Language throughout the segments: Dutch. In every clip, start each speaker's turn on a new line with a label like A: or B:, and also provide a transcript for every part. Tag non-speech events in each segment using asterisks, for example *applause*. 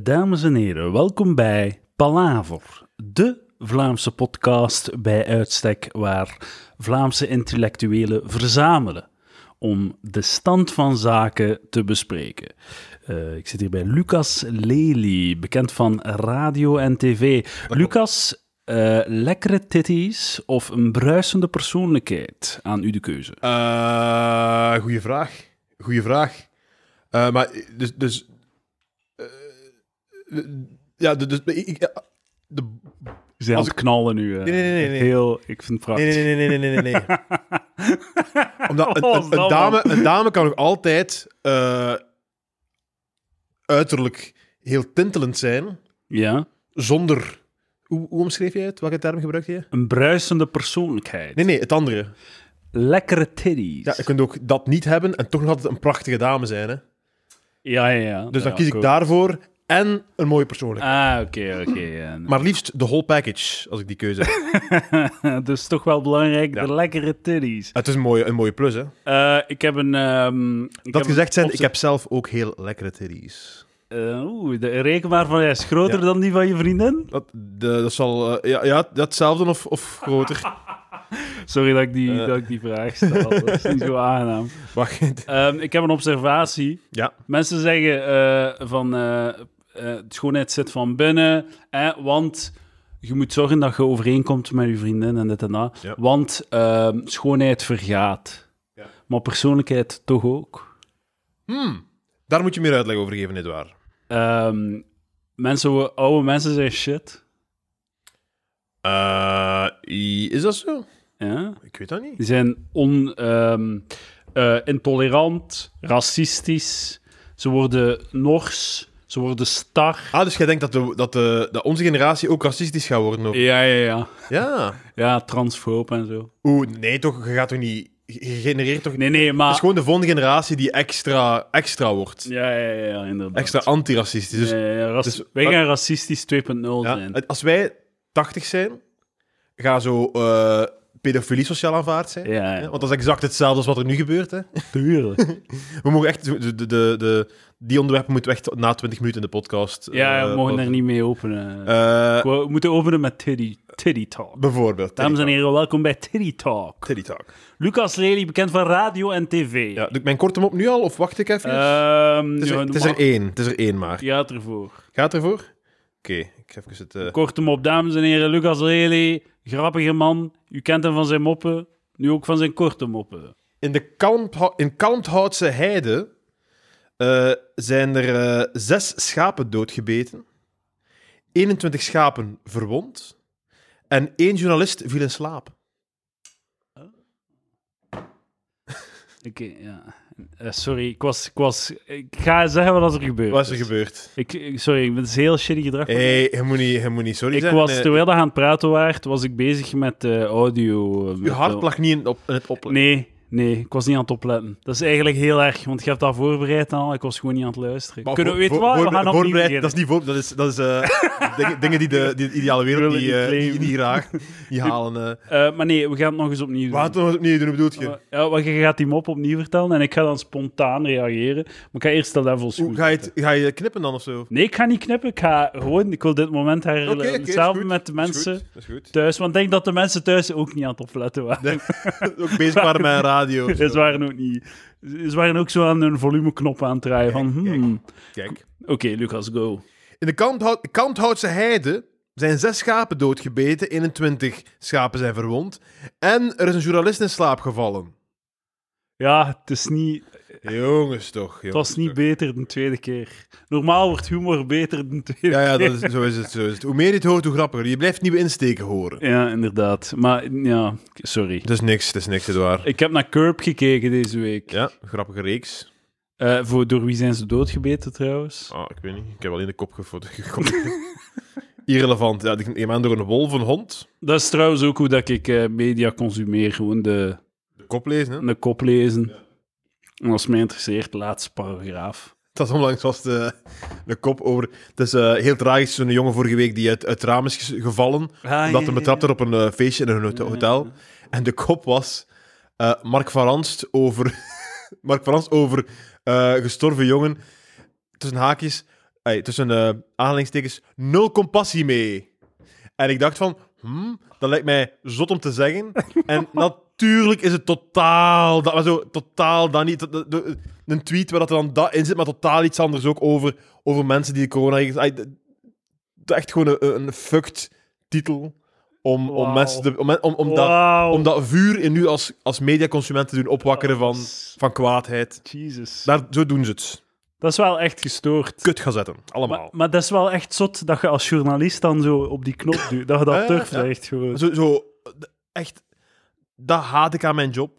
A: Dames en heren, welkom bij Palaver, de Vlaamse podcast bij uitstek waar Vlaamse intellectuelen verzamelen om de stand van zaken te bespreken. Eh, ik zit hier bij Lucas Lely, bekend van radio en tv. Lucas, eh, lekkere titties of een bruisende persoonlijkheid? Aan u de keuze.
B: Eh, goeie vraag. Goeie vraag. Eh, maar dus. dus eh, ja, dus. ik- ik- de,
A: Ze zijn
B: Als
A: aan het knallen nu. eh.
B: Nee, nee, nee, nee.
A: Heel, ik vind het prachtig.
B: nee, nee, nee, nee, nee, nee.
A: *laughs*
B: nee. Omdat een,
A: Oh,
B: een, een
A: zalm.
B: dame, een dame kan nog altijd eh, uiterlijk heel tintelend zijn
A: Ja?
B: zonder. Hoe, hoe omschreef je het? Welke term gebruikte je?
A: Een bruisende persoonlijkheid.
B: Nee, nee, het andere.
A: Lekkere titties.
B: Ja, je kunt ook dat niet hebben en toch nog altijd een prachtige dame zijn. Hè?
A: ja, ja, ja.
B: Dus dan
A: Ja,
B: kies ik
A: cool.
B: daarvoor en een mooie persoonlijkheid.
A: Ah, oké, oké.
B: *laughs*
A: ja.
B: Maar liefst de whole package, als ik die keuze *laughs*
A: *laughs*
B: heb.
A: dus toch wel belangrijk,
B: Ja. Eh,
A: de lekkere titties.
B: Het is een mooie, een mooie plus, hè.
A: Eh, ik heb een... ehm, ik heb
B: Dat
A: een
B: gezegd zijn, ik
A: opzet-
B: heb zelf ook heel lekkere titties.
A: Eh, Oeh, de rekenbaar van jij is groter
B: Ja.
A: dan die van je vriendin?
B: Dat, de, dat zal... eh, ja, ja, datzelfde of, of *laughs* groter.
A: Sorry dat ik die,
B: Eh.
A: dat ik die vraag stel. dat is niet zo aangenaam.
B: Wacht.
A: Ehm, ik heb een observatie.
B: Ja.
A: Mensen zeggen eh, van eh eh, de schoonheid zit van binnen, hè, want je moet zorgen dat je overeenkomt met je vriendin en dit en dat.
B: Ja.
A: Want ehm, schoonheid vergaat,
B: Ja.
A: maar persoonlijkheid toch ook.
B: Hmm. Daar moet je meer uitleg over geven, nietwaar?
A: Ehm, mensen, oude mensen zijn shit.
B: Eh i- is dat zo?
A: Ja?
B: Ik weet dat niet.
A: Die zijn on, ehm, eh, intolerant, racistisch, ze worden nors, ze worden star.
B: Ah, dus jij denkt dat, de, dat, de, dat onze generatie ook racistisch gaat worden? ook?
A: Ja, ja, ja.
B: Ja.
A: Ja, transfoob en zo.
B: Oeh, nee toch, je gaat toch niet... Je genereert toch...
A: Nee, nee,
B: Het
A: maar...
B: is gewoon de volgende generatie die extra, extra wordt.
A: Ja, ja, ja, ja, inderdaad.
B: Extra antiracistisch. Dus
A: Ja, ja, ja, raci-
B: dus-
A: wij gaan racistisch 2.0
B: Ja,
A: zijn.
B: het- als wij 80 zijn, ga zo eh, pedofilie sociaal aanvaard zijn.
A: Ja,
B: Hè?
A: ja.
B: Want dat is exact hetzelfde als wat er nu gebeurt. Hè?
A: tuurlijk.
B: We mogen echt, de, de, de, de- die onderwerpen moeten we echt na 20 minuten in de
A: *laughs*
B: podcast.
A: Ja,
B: eh,
A: we mogen
B: wat-
A: daar niet mee openen.
B: eh,
A: we, we moeten openen met Tiddy, Tiddy Talk.
B: bijvoorbeeld.
A: Dames en
B: Teddy
A: heren, welkom bij Tiddy Talk.
B: Teddy Talk.
A: Lucas Lely, bekend van radio en tv.
B: Ja, doe ik mijn korte mop nu al of wacht ik even?
A: Ehm,
B: het, is
A: ja,
B: er, het is er één. Het is er één maar.
A: Ja, het ervoor.
B: Gaat ervoor? Oké, ik ga even het... eh,
A: Kort hem op, dames en heren. Lucas Lely, grappige man. U kent hem van zijn moppen, nu ook van zijn korte moppen.
B: In de Kalmpha- in Kalmthoutse heide eh, zijn er eh, zes schapen doodgebeten, 21 schapen verwond en één journalist viel in slaap.
A: Oké, ja. Eh, sorry, ik was, ik was... Ik ga zeggen wat er gebeurd
B: Wat is er gebeurd?
A: Ik, ik- sorry, ik- het is heel shitty gedrag.
B: Hé, hey, je moet niet, je moet niet sorry
A: ik
B: zeggen.
A: was,
B: eh,
A: terwijl dat aan het praten waart, was ik bezig met eh, audio. eh,
B: Uw
A: met-
B: hart lag niet in, op, in het opletten.
A: Nee, nee, ik was niet aan het opletten. Dat is eigenlijk heel erg, want je hebt dat voorbereid en al. Ik was gewoon niet aan het luisteren.
B: Maar
A: Kunnen we
B: voor-
A: weten
B: voor-
A: wat? We
B: voorbe-
A: gaan opnieuw
B: voorbereid-
A: beginnen.
B: Dat is niet voor, dat is, dat is
A: *laughs*
B: eh, dingen, dingen die de, die de ideale
A: Wil
B: wereld
A: ik
B: niet,
A: niet
B: eh,
A: claimen.
B: niet, niet raak- niet halen.
A: *laughs*
B: eh.
A: Eh, maar nee, we gaan het nog eens opnieuw doen.
B: Wat doen we het opnieuw doen, bedoel je?
A: Eh, Ja, want je gaat die mop opnieuw vertellen en ik ga dan spontaan reageren. Maar ik ga eerst de levels
B: Hoe-
A: goed
B: ga, je het,
A: zetten.
B: ga je knippen dan of zo?
A: Nee, ik ga niet knippen. Ik ga gewoon... Ik wil dit moment herinneren.
B: Oké, oké, is
A: Samen
B: goed,
A: met de
B: is goed,
A: mensen
B: Dat is goed.
A: thuis. Want ik denk dat de mensen thuis ook niet aan het opletten
B: *laughs*
A: waren.
B: ook bezig waren met een
A: *laughs*
B: radio. of zo.
A: Ze waren ook niet. Ze waren ook zo aan hun volumeknop aan het draaien. Van,
B: kijk.
A: hmm,
B: Kijk.
A: Oké, Lucas, go.
B: In de Kalmthout- Kalmthoutse heide zijn zes schapen doodgebeten, 21 schapen zijn verwond en er is een journalist in slaap gevallen.
A: Ja, het, is niet,
B: Jongens toch.
A: het was niet beter de tweede keer. Normaal wordt humor beter de tweede
B: Ja, ja
A: keer.
B: dat is, zo, is het, zo is het. Hoe meer je het hoort, hoe grappiger. Je blijft nieuwe insteken horen.
A: Ja, inderdaad. Maar ja, sorry.
B: Het is niks, het is niks, Edouard.
A: Ik heb naar Curb gekeken deze week.
B: Ja, grappige reeks.
A: Eh, voor, door wie zijn ze doodgebeten trouwens?
B: Ah, ik weet niet. Ik heb alleen de kop *laughs* gefoten. Irrelevant. Ja, die- je bent door een wolf, een hond.
A: Dat is trouwens ook hoe dat ik eh, media consumeer. Gewoon de,
B: De kop lezen, hè?
A: de kop lezen. En als het mij interesseert, laatste paragraaf.
B: *laughs* Dat onlangs was de, de kop over. Het is eh, heel tragisch. Zo'n jongen vorige week die uit, uit het raam is ges- gevallen.
A: Ah,
B: omdat hij betrapt werd op een eh, feestje in een hot-
A: Ja, ja,
B: hotel.
A: ja.
B: En de kop was. eh, Mark van Ranst *laughs* over. Mark van Ranst over eh, gestorven jongen. Tussen haakjes. ey, tussen eh aanhalingstekens, nul compassie mee. En ik dacht van, hmm, dat lijkt mij zot om te
A: *laughs*
B: zeggen. En natuurlijk is het totaal dat, maar zo, totaal dat niet. Dat- dat- dat- Een tweet waar dat er dan dat in zit, maar totaal iets anders ook over, over mensen die de corona... ey, d- d- Echt gewoon een, een fucked titel om, om
A: Wauw.
B: mensen te... Om, om, om, dat, om dat vuur in u als, als mediaconsument te doen opwakkeren van, van kwaadheid.
A: Jesus. Dat,
B: Daar, zo doen ze het.
A: is wel echt gestoord.
B: Kut gazetten,
A: Maar,
B: allemaal.
A: maar dat is wel echt zot dat je als journalist dan zo op die knop duwt. Dat je dat
B: *laughs* Ja, ja,
A: durft,
B: ja.
A: echt gewoon.
B: Zo, zo, d- echt, dat haat ik aan mijn job.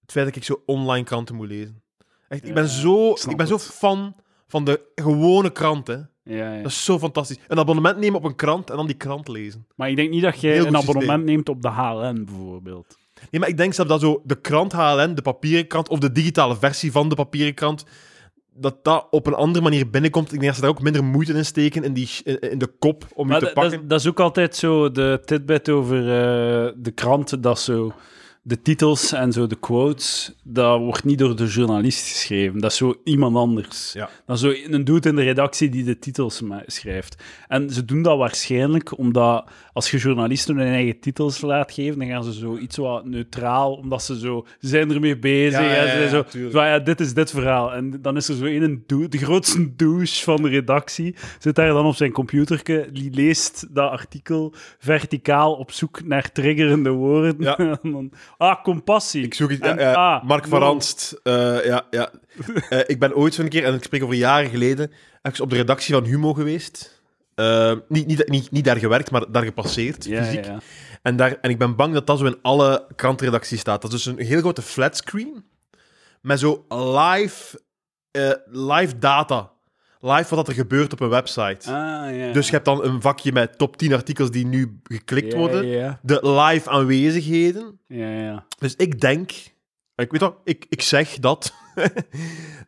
B: Het feit dat ik zo online kranten moet lezen. Echt, ik ben,
A: Ja,
B: zo,
A: snap
B: ik ben zo fan van de gewone krant, hè.
A: Ja, ja.
B: Dat is zo fantastisch. Een abonnement nemen op een krant en dan die krant lezen.
A: Maar ik denk niet dat jij
B: Heel
A: een
B: goed systeem.
A: abonnement neemt op de HLN bijvoorbeeld.
B: Nee, maar ik denk zelfs dat zo de krant HLN, de papieren krant, of de digitale versie van de papieren krant, dat dat op een andere manier binnenkomt. Ik denk dat ze daar ook minder moeite in steken, in, die, in, in de kop, om je
A: Maar
B: te
A: dat, dat is-
B: pakken.
A: dat is ook altijd zo de tidbit over eh, de kranten, dat zo de titels en zo de quotes, dat wordt niet door de journalist geschreven. Dat is zo iemand anders.
B: Ja.
A: Dat is zo een dude in de redactie die de titels ma- schrijft. En ze doen dat waarschijnlijk omdat als je journalisten hun eigen titels laat geven, dan gaan ze zo iets wat neutraal, omdat ze zo ze zijn ermee bezig.
B: Ja,
A: hè.
B: ja,
A: Ze zijn
B: ja,
A: zo,
B: tuurlijk.
A: zo, ah ja, dit is dit verhaal. En dan is er zo een, dou- de grootste douche van de redactie, zit daar dan op zijn computerke, die leest dat artikel verticaal op zoek naar triggerende woorden.
B: Ja.
A: *laughs* En dan, ah, compassie.
B: Ik zoek iets.
A: En,
B: ja, ja,
A: ah,
B: Mark van
A: no.
B: Ranst. eh, ja,
A: *laughs*
B: ja. Eh, ik ben ooit zo'n keer, en ik spreek over jaren geleden, ergens op de redactie van Humo geweest. Eh, niet, niet, niet, niet daar gewerkt, maar daar gepasseerd,
A: Ja,
B: fysiek.
A: ja, ja.
B: En, daar, en ik ben bang dat dat zo in alle krantenredacties staat. Dat is dus een heel grote flatscreen met zo live, eh, live data. Live wat dat er gebeurt op een website.
A: Ah, ja.
B: Dus je hebt dan een vakje met top 10 artikels die nu geklikt
A: Ja,
B: worden.
A: Ja,
B: De live aanwezigheden.
A: ja. ja.
B: Dus ik denk, ik weet wel, ik, ik zeg dat, *laughs*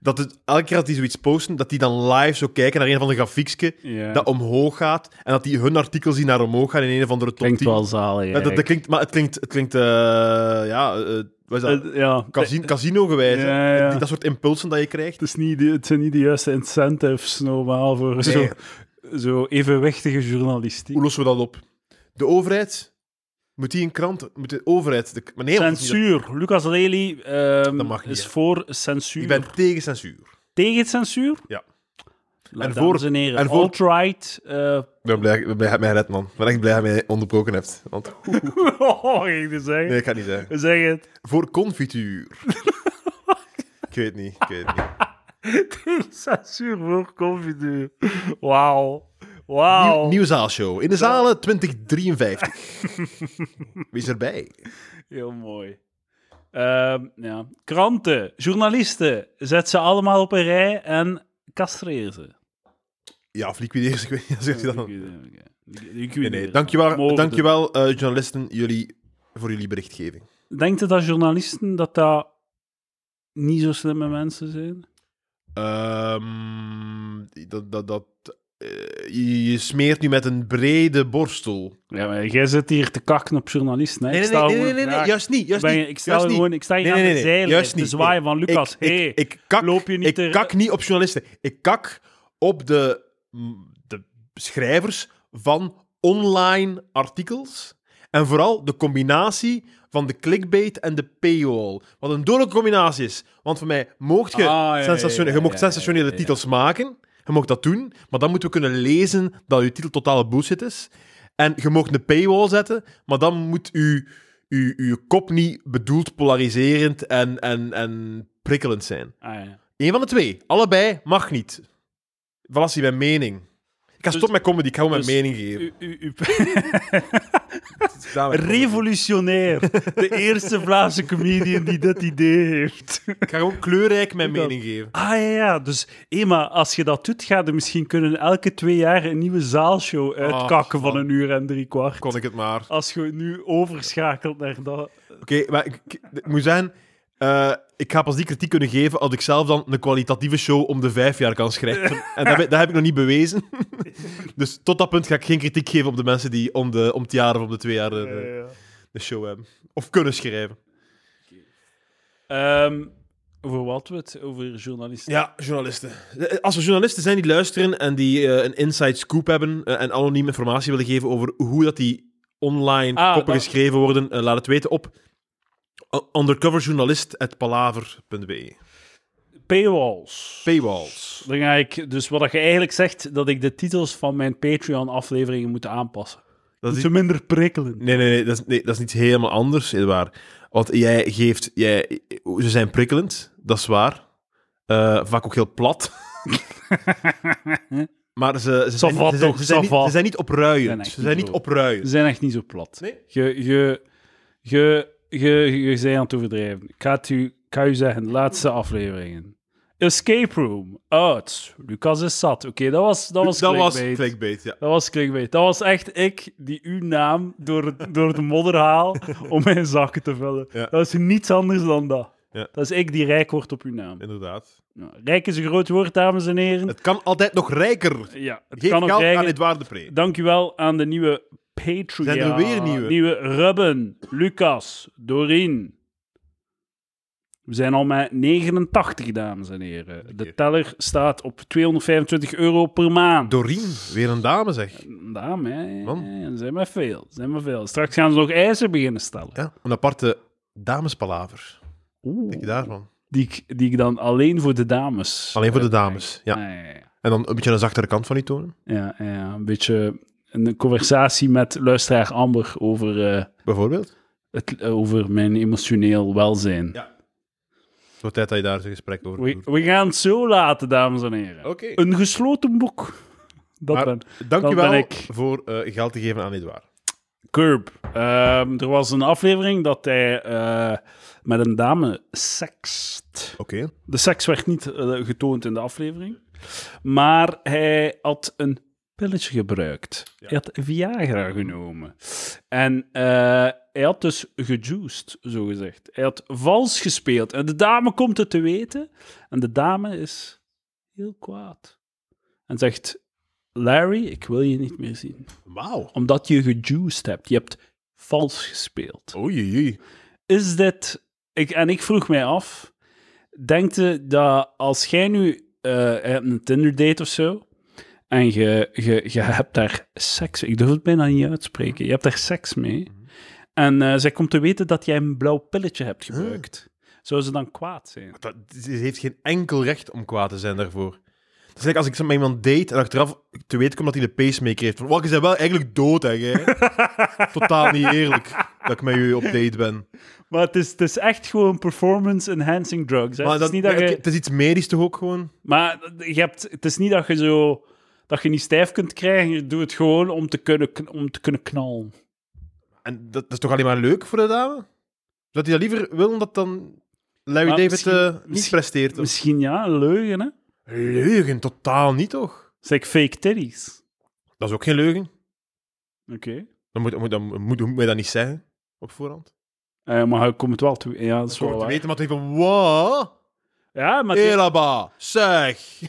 B: dat het, elke keer als die zoiets posten, dat die dan live zo kijken naar een van de grafiekske
A: ja.
B: dat omhoog gaat en dat die hun artikels zien naar omhoog gaan in een of andere top
A: Klinkt
B: 10.
A: wel zalig.
B: Ja, dat, dat klinkt, maar het klinkt, het klinkt eh, ja, eh, wat is dat?
A: Eh, ja.
B: Casino, casino-gewijs. hè.
A: Ja, ja.
B: Die- Dat soort impulsen dat je krijgt.
A: Het, is niet, de- het zijn niet de juiste incentives normaal voor zo, zo evenwichtige journalistiek.
B: Hoe lossen we dat op? De overheid? Moet die een krant? Moet de overheid... De, maar nee, want dat is niet-
A: Censuur. Lucas Lely ehm,
B: Dat mag niet,
A: is
B: hè.
A: voor censuur.
B: Ik ben tegen censuur.
A: Tegen censuur?
B: Ja.
A: En voor,
B: En voor-
A: dames en heren,
B: en voor-
A: alt-right...
B: *laughs*
A: eh,
B: Ik ben blij, ik ben blij dat je mij redt, man. Ik ben echt blij dat je mij onderbroken hebt. Want,
A: oh, ging ik zeggen?
B: nee, ik ga het niet zeggen.
A: Zeg het.
B: Voor confituur. *laughs* ik weet niet, ik weet niet.
A: Tegen censuur voor confituur. Wauw. Wauw.
B: Nieuw, nieuwe zaalshow. In de zalen 2053. *laughs* Wie is erbij?
A: Heel mooi. Ehm, ja. Kranten, journalisten, zet ze allemaal op een rij en castreer ze.
B: Ja, of liquideer ze, ik weet niet. Zegt hij dan. Nee,
A: Nee,
B: nee. Dankjewel, dankjewel eh, journalisten, jullie, voor jullie berichtgeving.
A: Denkt u dat journalisten dat dat niet zo slimme mensen zijn?
B: Ehm, dat, dat, dat, eh, je- je smeert nu met een brede borstel.
A: Ja, maar jij zit hier te kakken op journalisten. Hè?
B: Nee,
A: Ik
B: nee,
A: sta
B: nee, nee,
A: gewoon
B: nee, nee, nee,
A: graag-
B: juist niet. Juist
A: ben je-
B: niet,
A: ik sta
B: juist
A: hier
B: niet.
A: gewoon, ik sta hier
B: Nee, nee,
A: aan
B: nee,
A: de
B: nee,
A: zeilen
B: juist
A: te
B: niet.
A: zwaaien van Lucas.
B: ik,
A: hey,
B: ik, ik kak,
A: loop je niet
B: ik
A: te-
B: kak niet op journalisten. Ik kak op de, mm, de schrijvers van online artikels. En vooral de combinatie van de clickbait en de paywall. Wat een dodelijke combinatie is. Want voor mij mocht je,
A: Ah, ja, ja,
B: sensatione-
A: ja,
B: je mocht
A: ja, ja,
B: sensationele
A: ja, ja.
B: titels maken. Je mocht dat doen. Maar dan moeten we kunnen lezen dat je titel totale bullshit is. En je mocht een paywall zetten. Maar dan moet u uw, uw kop niet bedoeld polariserend en, en, en prikkelend zijn.
A: Ah, ja.
B: Eén van de twee. Allebei mag niet. Valassie, mijn mening. Ik ga
A: Dus-
B: stop met comedy, ik ga gewoon
A: dus
B: mijn mening geven.
A: U- u- u- *laughs*
B: Revolutie. *laughs*
A: Revolutionair. De eerste Vlaamse comedian die dat idee heeft.
B: Ik ga gewoon kleurrijk mijn
A: Doe dat.
B: mening geven.
A: Ah ja, ja. dus Ema, als je dat doet, ga je misschien kunnen elke twee jaar een nieuwe zaalshow uitkakken van
B: man.
A: een uur en drie kwart.
B: Kon ik het maar. Oké,
A: Als je nu overschakelt naar dat.
B: maar ik, ik- ik moet zeggen, eh, ik ga pas die kritiek kunnen geven als ik zelf dan een kwalitatieve show om de vijf jaar
A: *laughs*
B: kan schrijven. En dat, heb- dat heb ik nog niet bewezen. *laughs* Dus tot dat punt ga ik geen kritiek geven op de mensen die om, de, om het jaar of om de twee jaar eh, de,
A: Eh.
B: de- de show hebben. Of kunnen schrijven.
A: Ehm, Over wat we het over journalisten.
B: Ja, journalisten. Eh, Als er journalisten zijn die luisteren en die eh, een inside scoop hebben eh, en anoniem informatie willen geven over hoe dat die online
A: Ah,
B: koppen
A: dat-
B: geschreven worden, eh, laat het weten op eh, undercoverjournalist.palaver.be.
A: Paywalls.
B: Paywalls.
A: Dan ga ik, dus wat je eigenlijk zegt, dat ik de titels van mijn Patreon-afleveringen moet aanpassen.
B: Dat is
A: Moet ze minder prikkelen.
B: Nee, nee, nee, dat is, nee, dat is niet helemaal anders, Edouard. Want jij geeft... Jij, ze zijn prikkelend, dat is waar. Eh, vaak ook heel plat. maar ze, ze, zijn,
A: va
B: ze, zijn,
A: toch,
B: ze, zijn
A: ça
B: niet,
A: va.
B: ze zijn niet opruiend.
A: zijn echt
B: ze
A: niet
B: zijn niet
A: zo. Ze
B: opruiend.
A: zijn echt niet zo plat.
B: Nee?
A: Je, je, je, je, je, je bent aan het overdrijven. Ik ga het u, ik ga u zeggen, de laatste afleveringen. Escape Room, uit. Lucas is zat. Oké, dat was dat was
B: dat was
A: clickbait.
B: clickbait, ja.
A: Dat was clickbait. Dat was echt ik die uw naam door, door de modder haal *laughs* om mijn zakken te vullen.
B: Ja.
A: Dat is niets anders dan dat.
B: Ja.
A: Dat is ik die rijk wordt op uw naam.
B: Inderdaad.
A: Nou, rijk is een groot woord, dames en heren.
B: Het kan altijd nog rijker.
A: ja, het
B: Geef
A: kan ook
B: geld aan
A: rijken.
B: Edouard de Pre.
A: Dankjewel aan de nieuwe Patreon.
B: Zijn er weer nieuwe?
A: Ruben, Lucas, Dorien. We zijn al met 89, dames en heren. De
B: keer.
A: teller staat op 225 euro per maand.
B: Dorien, weer een dame, zeg.
A: Dame, hè.
B: Man.
A: Ja, Zijn maar veel, zijn maar veel. Straks gaan ze nog eisen beginnen stellen.
B: Ja, een aparte damespalaver.
A: Oeh.
B: Denk je daarvan?
A: Die, ik, die ik dan alleen voor de dames... eh,
B: Alleen voor de dames, ja.
A: Ja, ja, ja.
B: En dan een beetje een zachtere kant van die tonen.
A: Ja, ja, een beetje een conversatie met luisteraar Amber over... eh,
B: Bijvoorbeeld.
A: het, eh, over mijn emotioneel welzijn.
B: Ja. Het wordt tijd dat je daar eens een gesprek over
A: We,
B: voert.
A: we gaan het zo laten, dames en heren.
B: Oké.
A: Een gesloten boek. Dat
B: Maar-
A: ben.
B: Dankjewel
A: Dan ben ik-
B: voor eh, geld te geven aan Edouard.
A: Curb. Ehm, er was een aflevering dat hij eh, met een dame sekst.
B: Oké.
A: De seks werd niet eh, getoond in de aflevering. Maar hij had een pilletje gebruikt. Hij had Viagra genomen. En eh, hij had dus gejuiced, zogezegd. Hij had vals gespeeld. En de dame komt het te weten. En de dame is heel kwaad. En zegt... Larry, ik wil je niet meer zien.
B: Wauw.
A: Omdat je gejuiced hebt. Je hebt vals gespeeld
B: Oei, oei, oei.
A: is dit... Ik, en ik vroeg mij af, denkt je dat als jij nu eh, je hebt een Tinder date of zo, en je, je, je hebt daar seks, ik durf het bijna niet uitspreken, je hebt daar seks mee, en eh, zij komt te weten dat jij een blauw pilletje hebt gebruikt, zou ze dan kwaad zijn?
B: Dat, ze heeft geen enkel recht om kwaad te zijn daarvoor. Dat is eigenlijk als ik zo met iemand date en achteraf te weten kom dat hij de pacemaker heeft. Van, "Wauw, je bent wel eigenlijk dood,
A: *laughs*
B: hè, jij?" Totaal niet eerlijk dat ik met u op date ben.
A: Maar het is, het is echt gewoon performance-enhancing drugs. Hè?
B: Maar
A: het,
B: dat,
A: is niet dat
B: ja,
A: je,
B: Het is iets medisch toch ook gewoon?
A: maar je hebt, het is niet dat je zo... Dat je niet stijf kunt krijgen, je doet het gewoon om te kunnen, kn- om te kunnen knallen.
B: En dat, dat is toch alleen maar leuk voor de dame? Dat hij dat liever wil dat dan Larry
A: Maar
B: David
A: misschien-
B: eh, niet
A: misschien-
B: presteert? Of?
A: Misschien ja, een leugen, hè?
B: Leugen, totaal niet toch?
A: Zeg fake titties.
B: Dat is ook geen leugen.
A: Oké.
B: Dan moet, moet, dan moet, moet je dat niet zeggen op voorhand.
A: Eh, maar hij komt het wel toe. Ja, dat is wel
B: Om te
A: waar.
B: weten, maar toch van, wat?
A: Ja, maar die-
B: Elaba, zeg.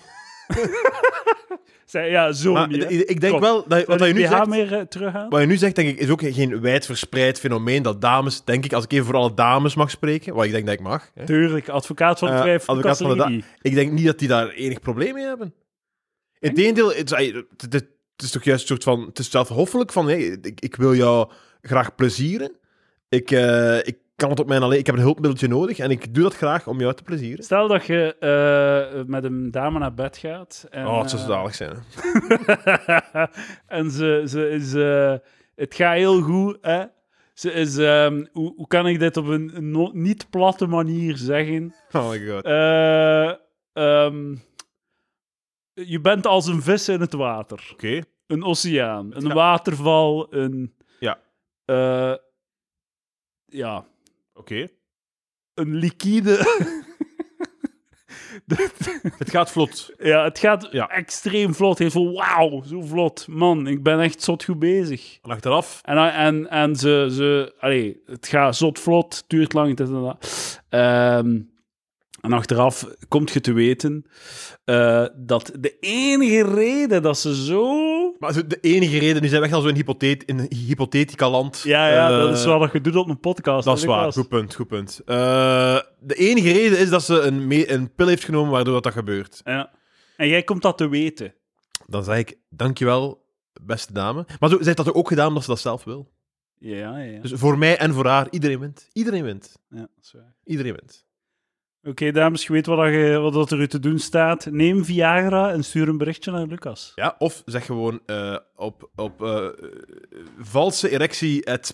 A: zij- ja, zo
B: Maar
A: niet. hè.
B: ik ik denk
A: Kom,
B: wel, dat, je- wat,
A: Zal
B: je
A: ik
B: nu
A: BH
B: zegt,
A: meer eh, terughalen?
B: wat je nu zegt, denk ik, is ook geen wijdverspreid fenomeen dat dames, denk ik, als ik even voor alle dames mag spreken, wat ik denk dat ik mag, hè,
A: Tuurlijk, advocaat van het
B: Eh,
A: twijfel.
B: advocaat van de da-
A: Kasselini.
B: ik denk niet dat die daar enig probleem mee hebben. Integendeel, het, is- het, het, het is toch juist een soort van, het is zelfhoffelijk van, hé, ik, ik wil jou graag plezieren, ik, eh, ik kan het op mijn alleen, ik heb een hulpmiddeltje nodig en ik doe dat graag om jou te plezieren.
A: Stel dat je eh, met een dame naar bed gaat. En,
B: oh, het zou zo
A: eh,
B: zalig zijn. hè.
A: *laughs* en ze, ze is... eh, het gaat heel goed, hè? Ze is... ehm, hoe, hoe kan ik dit op een, een no- niet platte manier zeggen?
B: Oh my god.
A: Eh, ehm, je bent als een vis in het water.
B: Oké.
A: Een oceaan, een
B: gaat-
A: waterval, een...
B: Ja.
A: eh, ja,
B: Oké.
A: een
B: *laughs*
A: liquide...
B: Het gaat vlot.
A: ja, het gaat
B: Ja.
A: extreem vlot. Heel veel, wauw, zo vlot. Man, ik ben echt zot goed bezig.
B: En achteraf.
A: En, eh, en, en ze, ze allee, het gaat zot vlot, duurt lang, dit en dat. Ehm, en achteraf komt je te weten eh, dat de enige reden dat ze zo...
B: Maar zo- de enige reden, nu zijn we echt al zo'n hypothet, in een hypothetica land.
A: Ja, ja,
B: Eh,
A: dat is wel dat je doet op een podcast.
B: Dat is
A: hè, Lucas.
B: waar. Goed punt, goed punt. Eh, de enige reden is dat ze een, me- een pil heeft genomen waardoor dat, dat gebeurt.
A: Ja. En jij komt dat te weten.
B: Dan zeg ik, dankjewel, beste dame. Maar zo, zij heeft dat ook gedaan omdat ze dat zelf wil.
A: Ja, ja, ja.
B: Dus voor mij en voor haar, iedereen wint. Iedereen wint.
A: ja dat is waar.
B: Iedereen wint.
A: Oké, dames, je weet wat, dat je, wat dat er u te doen staat. Neem Viagra en stuur een berichtje naar Lucas.
B: Ja, of zeg gewoon eh, op, op eh, eh, valse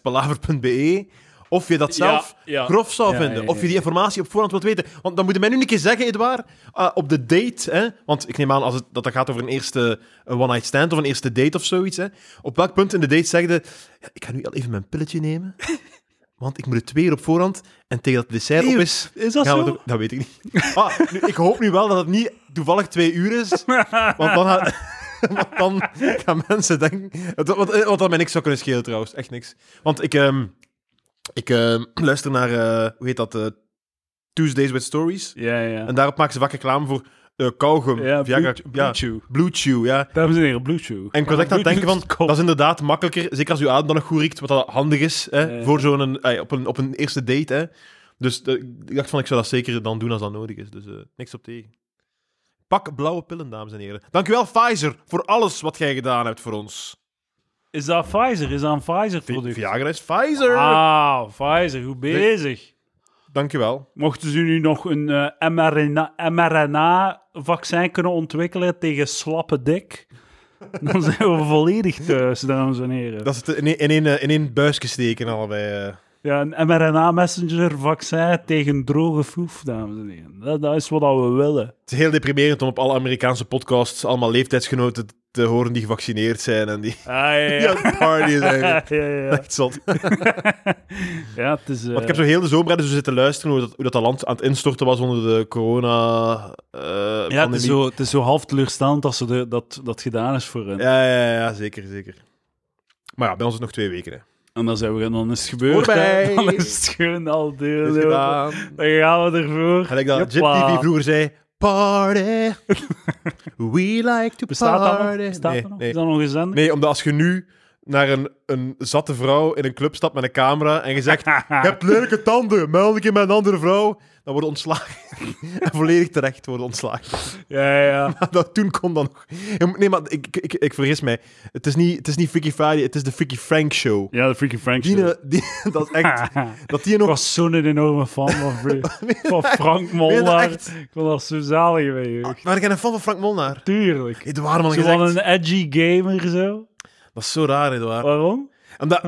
B: erectie.palaver.be of je dat zelf
A: Ja, ja.
B: grof zou
A: Ja,
B: vinden.
A: ja, ja,
B: Of je die
A: ja.
B: informatie op voorhand wilt weten. Want dan moet je mij nu een keer zeggen, Edouard, eh, op de date, hè, want ik neem aan als het, dat dat gaat over een eerste eh, one-night stand of een eerste date of zoiets, hè, op welk punt in de date zeg je, ja, ik ga nu al even mijn pilletje nemen, want ik moet het twee uur op voorhand en tegen dat het dessert
A: Nee,
B: op is...
A: Is dat
B: gaan we
A: zo?
B: het ook- dat weet ik niet. Ah, nu, ik hoop nu wel dat het niet toevallig twee uur is. Want dan, gaan- *laughs* want dan gaan mensen denken... Wat, wat, eh, wat dat mij niks zou kunnen schelen trouwens. Echt niks. Want ik, ehm, ik ehm, luister naar... eh, hoe heet dat? eh, Tuesdays with Stories.
A: Ja, ja.
B: En daarop maken ze vaak reclame voor eh kauwgum.
A: Ja,
B: Viagra-
A: Blue,
B: ja,
A: Blue Chew.
B: Blue Chew, ja.
A: Dames en heren, Blue Chew.
B: En ik was echt aan het denken van, dat is inderdaad makkelijker. Zeker als uw adem dan nog goed riekt, wat dat handig is hè,
A: Ja.
B: voor zo'n, eh, op, een, op een eerste date. Hè. Dus eh, ik dacht van, ik zou dat zeker dan doen als dat nodig is. Dus eh, niks op tegen. Pak blauwe pillen, dames en heren. Dankjewel, Pfizer, voor alles wat jij gedaan hebt voor ons.
A: Is dat Pfizer? Is dat een Pfizer-product?
B: Viagra is Pfizer.
A: Ah, Pfizer, goed bezig.
B: Dankjewel.
A: Mochten ze nu nog een eh, mRNA mRNA-vaccin kunnen ontwikkelen tegen slappe dik, dan *laughs* zijn we volledig thuis, dames en heren.
B: Dat is het in één, in één, eh, in één buisje steken allebei. eh.
A: Ja, een mRNA-messenger-vaccin tegen droge foef, dames en heren. Dat, dat is wat dat we willen.
B: Het is heel deprimerend om op alle Amerikaanse podcasts allemaal leeftijdsgenoten te horen die gevaccineerd zijn en die
A: Ah, ja,
B: die *laughs* aan
A: ja.
B: het partyen zijn.
A: *laughs* Ja, ja, ja.
B: Echt zot.
A: Ja, het is... eh,
B: Want ik heb zo heel de zomer dus zitten luisteren hoe dat, hoe dat, dat land aan het instorten was onder de eh, corona-pandemie.
A: ja, het is, zo, het is zo half teleurstellend dat, ze de, dat dat gedaan is voor hen.
B: ja, ja, ja, zeker, zeker. Maar ja, bij ons is het nog twee weken. Hè.
A: En dan zijn we dan is het gebeurd.
B: Voorbij.
A: hè. *laughs* Dan is het gewoon al deel.
B: Het is gedaan.
A: Dan gaan we ervoor.
B: Gelijk dat Jip
A: Joppa.
B: TV vroeger zei,
A: *laughs*
B: party, we like to
A: Bestaat dat nog?
B: party.
A: Bestaat
B: nee,
A: dat nog?
B: nee.
A: Is dat nog gezend?
B: nee, omdat als je nu naar een, een zatte vrouw in een club stapt met een camera en
A: *laughs*
B: je zegt, je hebt lelijke tanden, meld ik je met een andere vrouw, dan worden ontslagen. *laughs* en volledig terecht worden ontslagen.
A: Ja, ja.
B: *laughs* dat toen kon dan nog. Nee, maar ik, ik, ik, ik vergis mij. Het is, niet, het is niet Freaky Friday, het is de Freaky Frank Show.
A: Ja, de Freaky Frank
B: Die, eh,
A: show.
B: die, *laughs* dat is echt.
A: *laughs* Ik
B: Dat die nog.
A: was zo'n enorme fan van,
B: *laughs*
A: Fre- van Frank Molnar.
B: echt?
A: Ik vond dat zo zalig bij je.
B: Maar ik ben een fan van Frank Molnaar.
A: Tuurlijk.
B: Edouard, man,
A: Zo
B: gezegd.
A: van een edgy gamer zo.
B: Dat is zo raar, Edouard.
A: Waarom? *laughs*
B: Omdat.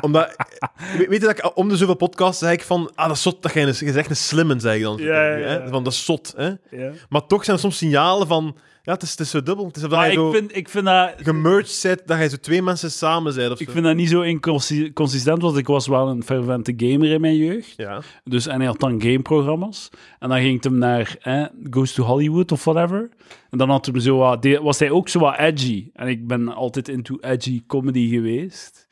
B: omdat we- weet je dat ik eh, om de zoveel podcasts zeg ik van. Ah, dat is zot. Dat jij een, je zegt een slimmen, zeg ik dan.
A: Ja, ja, ja.
B: Hè? Van dat is zot. Hè?
A: Ja.
B: Maar toch zijn er soms signalen van. Ja, het is, het is zo dubbel. Het is of dat
A: Maar
B: jij zo
A: ik vind, ik, vind dat,
B: gemerged bent, dat jij zo twee mensen samen bent. Of
A: ik
B: zo.
A: vind dat niet zo inconsistent, want ik was wel een fervente gamer in mijn jeugd.
B: Ja.
A: Dus, en hij had dan gameprogramma's. En dan ging het hem naar eh, Goes to Hollywood of whatever. En dan had hem zo wat, de- was hij ook zo wat edgy. En ik ben altijd into edgy comedy
B: *laughs*
A: geweest.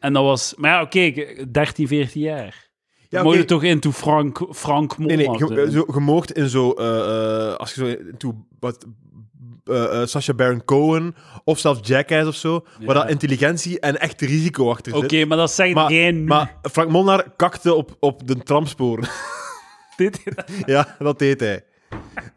A: En dat was... Maar ja, oké, ik- 13, 14 jaar.
B: Ja,
A: Moet
B: oké.
A: je toch into Frank, Frank
B: Nee, nee,
A: Molnar
B: ge,
A: zijn.
B: eh, zo, je moogt in zo... eh, eh, als je zo toe... Wat, eh, eh, Sacha Baron Cohen of zelfs Jackass of zo, waar dat intelligentie en echt risico achter
A: Oké,
B: zit.
A: maar dat zegt
B: Maar,
A: jij nu.
B: maar Frank Molnar kakte op, op de tramsporen.
A: *laughs* Dit-
B: *laughs* ja, dat deed hij.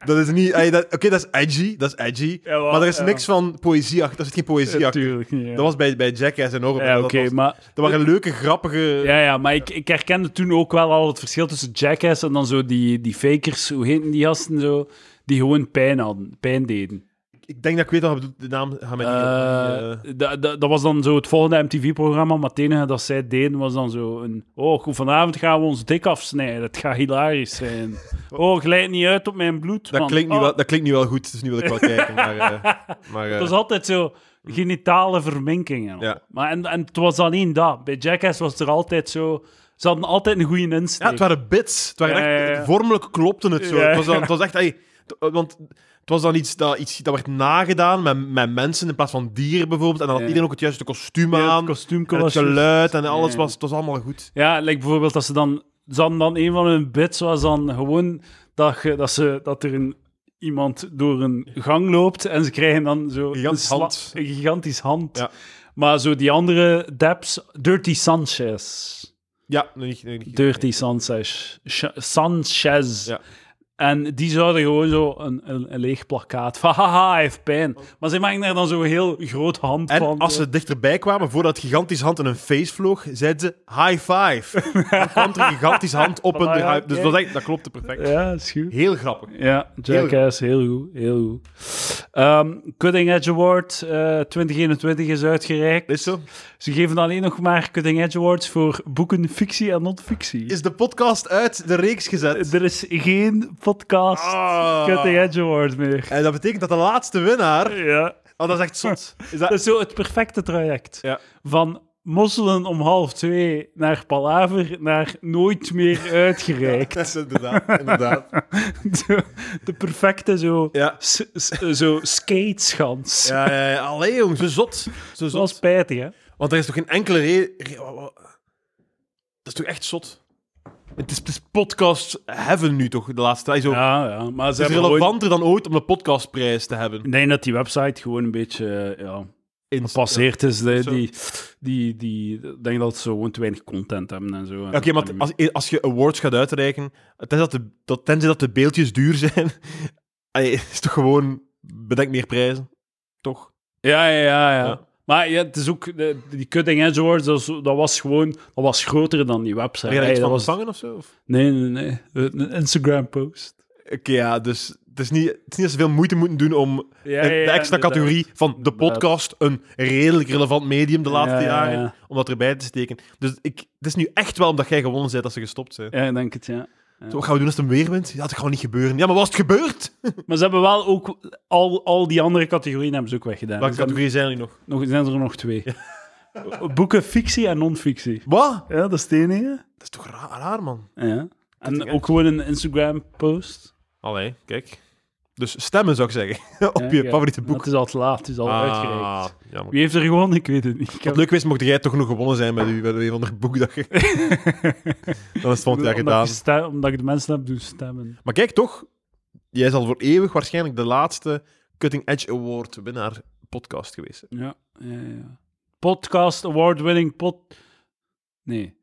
B: Dat is niet... ey, dat- Oké, dat is edgy, dat is edgy.
A: Ja, wel,
B: maar er is
A: ja.
B: niks van poëzie achter. Er zit geen poëzie achter.
A: Natuurlijk niet, ja.
B: Dat was bij, bij Jackass enorm.
A: Ja,
B: dat,
A: oké,
B: was-
A: maar...
B: dat waren leuke, grappige...
A: Ja, ja, maar ik, ik herkende toen ook wel al het verschil tussen Jackass en dan zo die, die fakers, hoe heten die gasten zo, die gewoon pijn hadden, pijn deden.
B: Ik denk dat ik weet wat je bedoelt. De naam gaat mij niet...
A: Eh,
B: eh,
A: da- da- dat was dan zo het volgende MTV-programma, maar het enige dat zij deden was dan zo een... Oh, goed, vanavond gaan we ons dik afsnijden, het gaat hilarisch
B: *laughs*
A: zijn. Oh, glijd niet uit op mijn bloed,
B: Dat
A: man.
B: klinkt, nu
A: Oh,
B: wel, dat klinkt nu wel goed, dus nu wil ik wel kijken.
A: *laughs*
B: Maar, eh, maar, eh,
A: Het was altijd zo genitale verminkingen.
B: Ja.
A: Maar en, en het was alleen dat. Bij Jackass was het er altijd zo... Ze hadden altijd een goede insteek.
B: ja, het waren bits. Het waren
A: Ja,
B: echt,
A: ja, ja.
B: Vormelijk klopte het zo.
A: Ja.
B: Het, was dan, het was echt... ey, t- eh, want het was dan iets dat, iets dat werd nagedaan met, met mensen in plaats van dieren bijvoorbeeld. En dan had
A: Ja.
B: iedereen ook het juiste kostuum
A: Ja,
B: aan.
A: het kostuum
B: en het
A: was juist.
B: geluid en alles
A: Ja.
B: was... Het was allemaal goed.
A: Ja, like bijvoorbeeld dat ze dan... Ze hadden dan een van hun bits was dan gewoon dat, je, dat, ze, dat er een, iemand door een gang loopt en ze krijgen dan zo... een
B: Gigantisch
A: sla-
B: hand.
A: Een gigantisch hand.
B: Ja.
A: Maar zo die andere deps... Dirty Sanchez.
B: Ja, nog niet. nog niet-
A: Dirty Sanchez. Sh- Sanchez.
B: Ja.
A: En die zouden gewoon zo een, een, een leeg plakkaat *laughs* van haha, hij heeft pijn. Maar ze maken daar dan zo'n heel groot hand
B: Oh. En
A: van.
B: als ze dichterbij kwamen, voordat gigantisch hand in een face vloog, zeiden ze high
A: *laughs*
B: five. Dan kwam er een gigantisch hand op een
A: Voilà, ja,
B: high Dus dat, was echt- dat klopte perfect.
A: Ja, is goed.
B: Heel grappig.
A: Ja, Jackass, heel goed. Heel goed. Ehm, Cutting Edge Award eh, 2021 is uitgereikt.
B: Is zo?
A: Ze geven alleen nog maar Cutting Edge Awards voor boeken fictie en non-fictie.
B: Is de podcast uit de reeks gezet?
A: Er is geen podcast
B: Ah.
A: Cutting Edge Award meer.
B: En dat betekent dat de laatste winnaar...
A: Ja.
B: Oh, dat is echt zot. Is dat...
A: Dat is zo het perfecte traject.
B: Ja.
A: Van mosselen om half twee naar Palaver, naar nooit
B: *laughs*
A: meer uitgereikt.
B: *laughs* Dat is inderdaad, inderdaad.
A: Zo, De perfecte zo,
B: Ja.
A: s- s- zo skateschans.
B: Ja, ja, ja. Allee, jong, zo zot. Zo
A: Dat was
B: zot.
A: spijtig, hè?
B: Want er is toch geen enkele reden... Dat is toch echt zot? Het is, het is podcast heaven nu toch, de laatste tijd. Zo-
A: Ja, ja. Maar ze
B: Het is
A: hebben gewoon...
B: relevanter dan ooit om de podcastprijs te hebben.
A: Ik denk dat die website gewoon een beetje eh, ja,
B: In-
A: gepasseerd is. hè.
B: Zo.
A: Die, die, die, ik denk dat ze gewoon te weinig content hebben en zo.
B: Oké, maar als, als je awards gaat uitreiken, tenzij dat de, dat, tenzij dat de beeldjes duur zijn, *laughs* allee, is toch gewoon bedenk meer prijzen, toch?
A: Ja, ja, ja. ja.
B: Ja.
A: Maar ja, het is ook, de- die Cutting Edge Awards, dat, is- dat was gewoon, dat was groter dan die website.
B: Heb je daar
A: Hey,
B: iets
A: dat
B: van
A: was,
B: ontvangen of zo? of?
A: nee, nee, nee. Een Instagram-post.
B: Oké, ja, dus het is, niet, het is niet dat ze veel moeite moeten doen om
A: Ja,
B: een-
A: ja, ja,
B: de extra
A: inderdaad.
B: categorie van de
A: Inderdaad.
B: podcast, een redelijk relevant medium de laatste
A: Ja, ja,
B: jaren,
A: ja.
B: om dat erbij te steken. Dus ik, het is nu echt wel omdat jij gewonnen bent dat ze gestopt zijn.
A: Ja, ik denk het, ja.
B: Zo, wat gaan we doen als het hem weer wint? Ja, dat gaat niet gebeuren. Ja, maar was het gebeurd?
A: Maar ze hebben wel ook al, al die andere categorieën hebben ze ook weggedaan.
B: Welke
A: Ze hebben
B: categorieën zijn er nu nog?
A: nog, er zijn er nog
B: *laughs*
A: twee. Boeken fictie en non-fictie.
B: Wat?
A: Ja, dat is het enige.
B: Dat is toch ra- raar man?
A: Ja. En
B: Cutting
A: ook gewoon een Instagram-post.
B: Allee, kijk. Dus stemmen zou ik eh, zeggen. *laughs* Op
A: Ja,
B: je
A: ja.
B: favoriete
A: Maar
B: boek.
A: Het is al te laat, het is al
B: Ah,
A: uitgereikt.
B: jammer.
A: Wie heeft er gewonnen? Ik weet het niet. Ik
B: Wat
A: heb-
B: leuk geweest mocht jij toch nog gewonnen zijn met, u, met een van de *laughs* boekdagen. Dan is het volgend jaar
A: omdat,
B: gedaan.
A: Ik sta- omdat ik de mensen heb doen stemmen.
B: Maar kijk toch, jij is al voor eeuwig waarschijnlijk de laatste Cutting Edge Award winnaar podcast geweest. zijn.
A: Ja, ja, ja. Podcast, award-winning pod... Nee.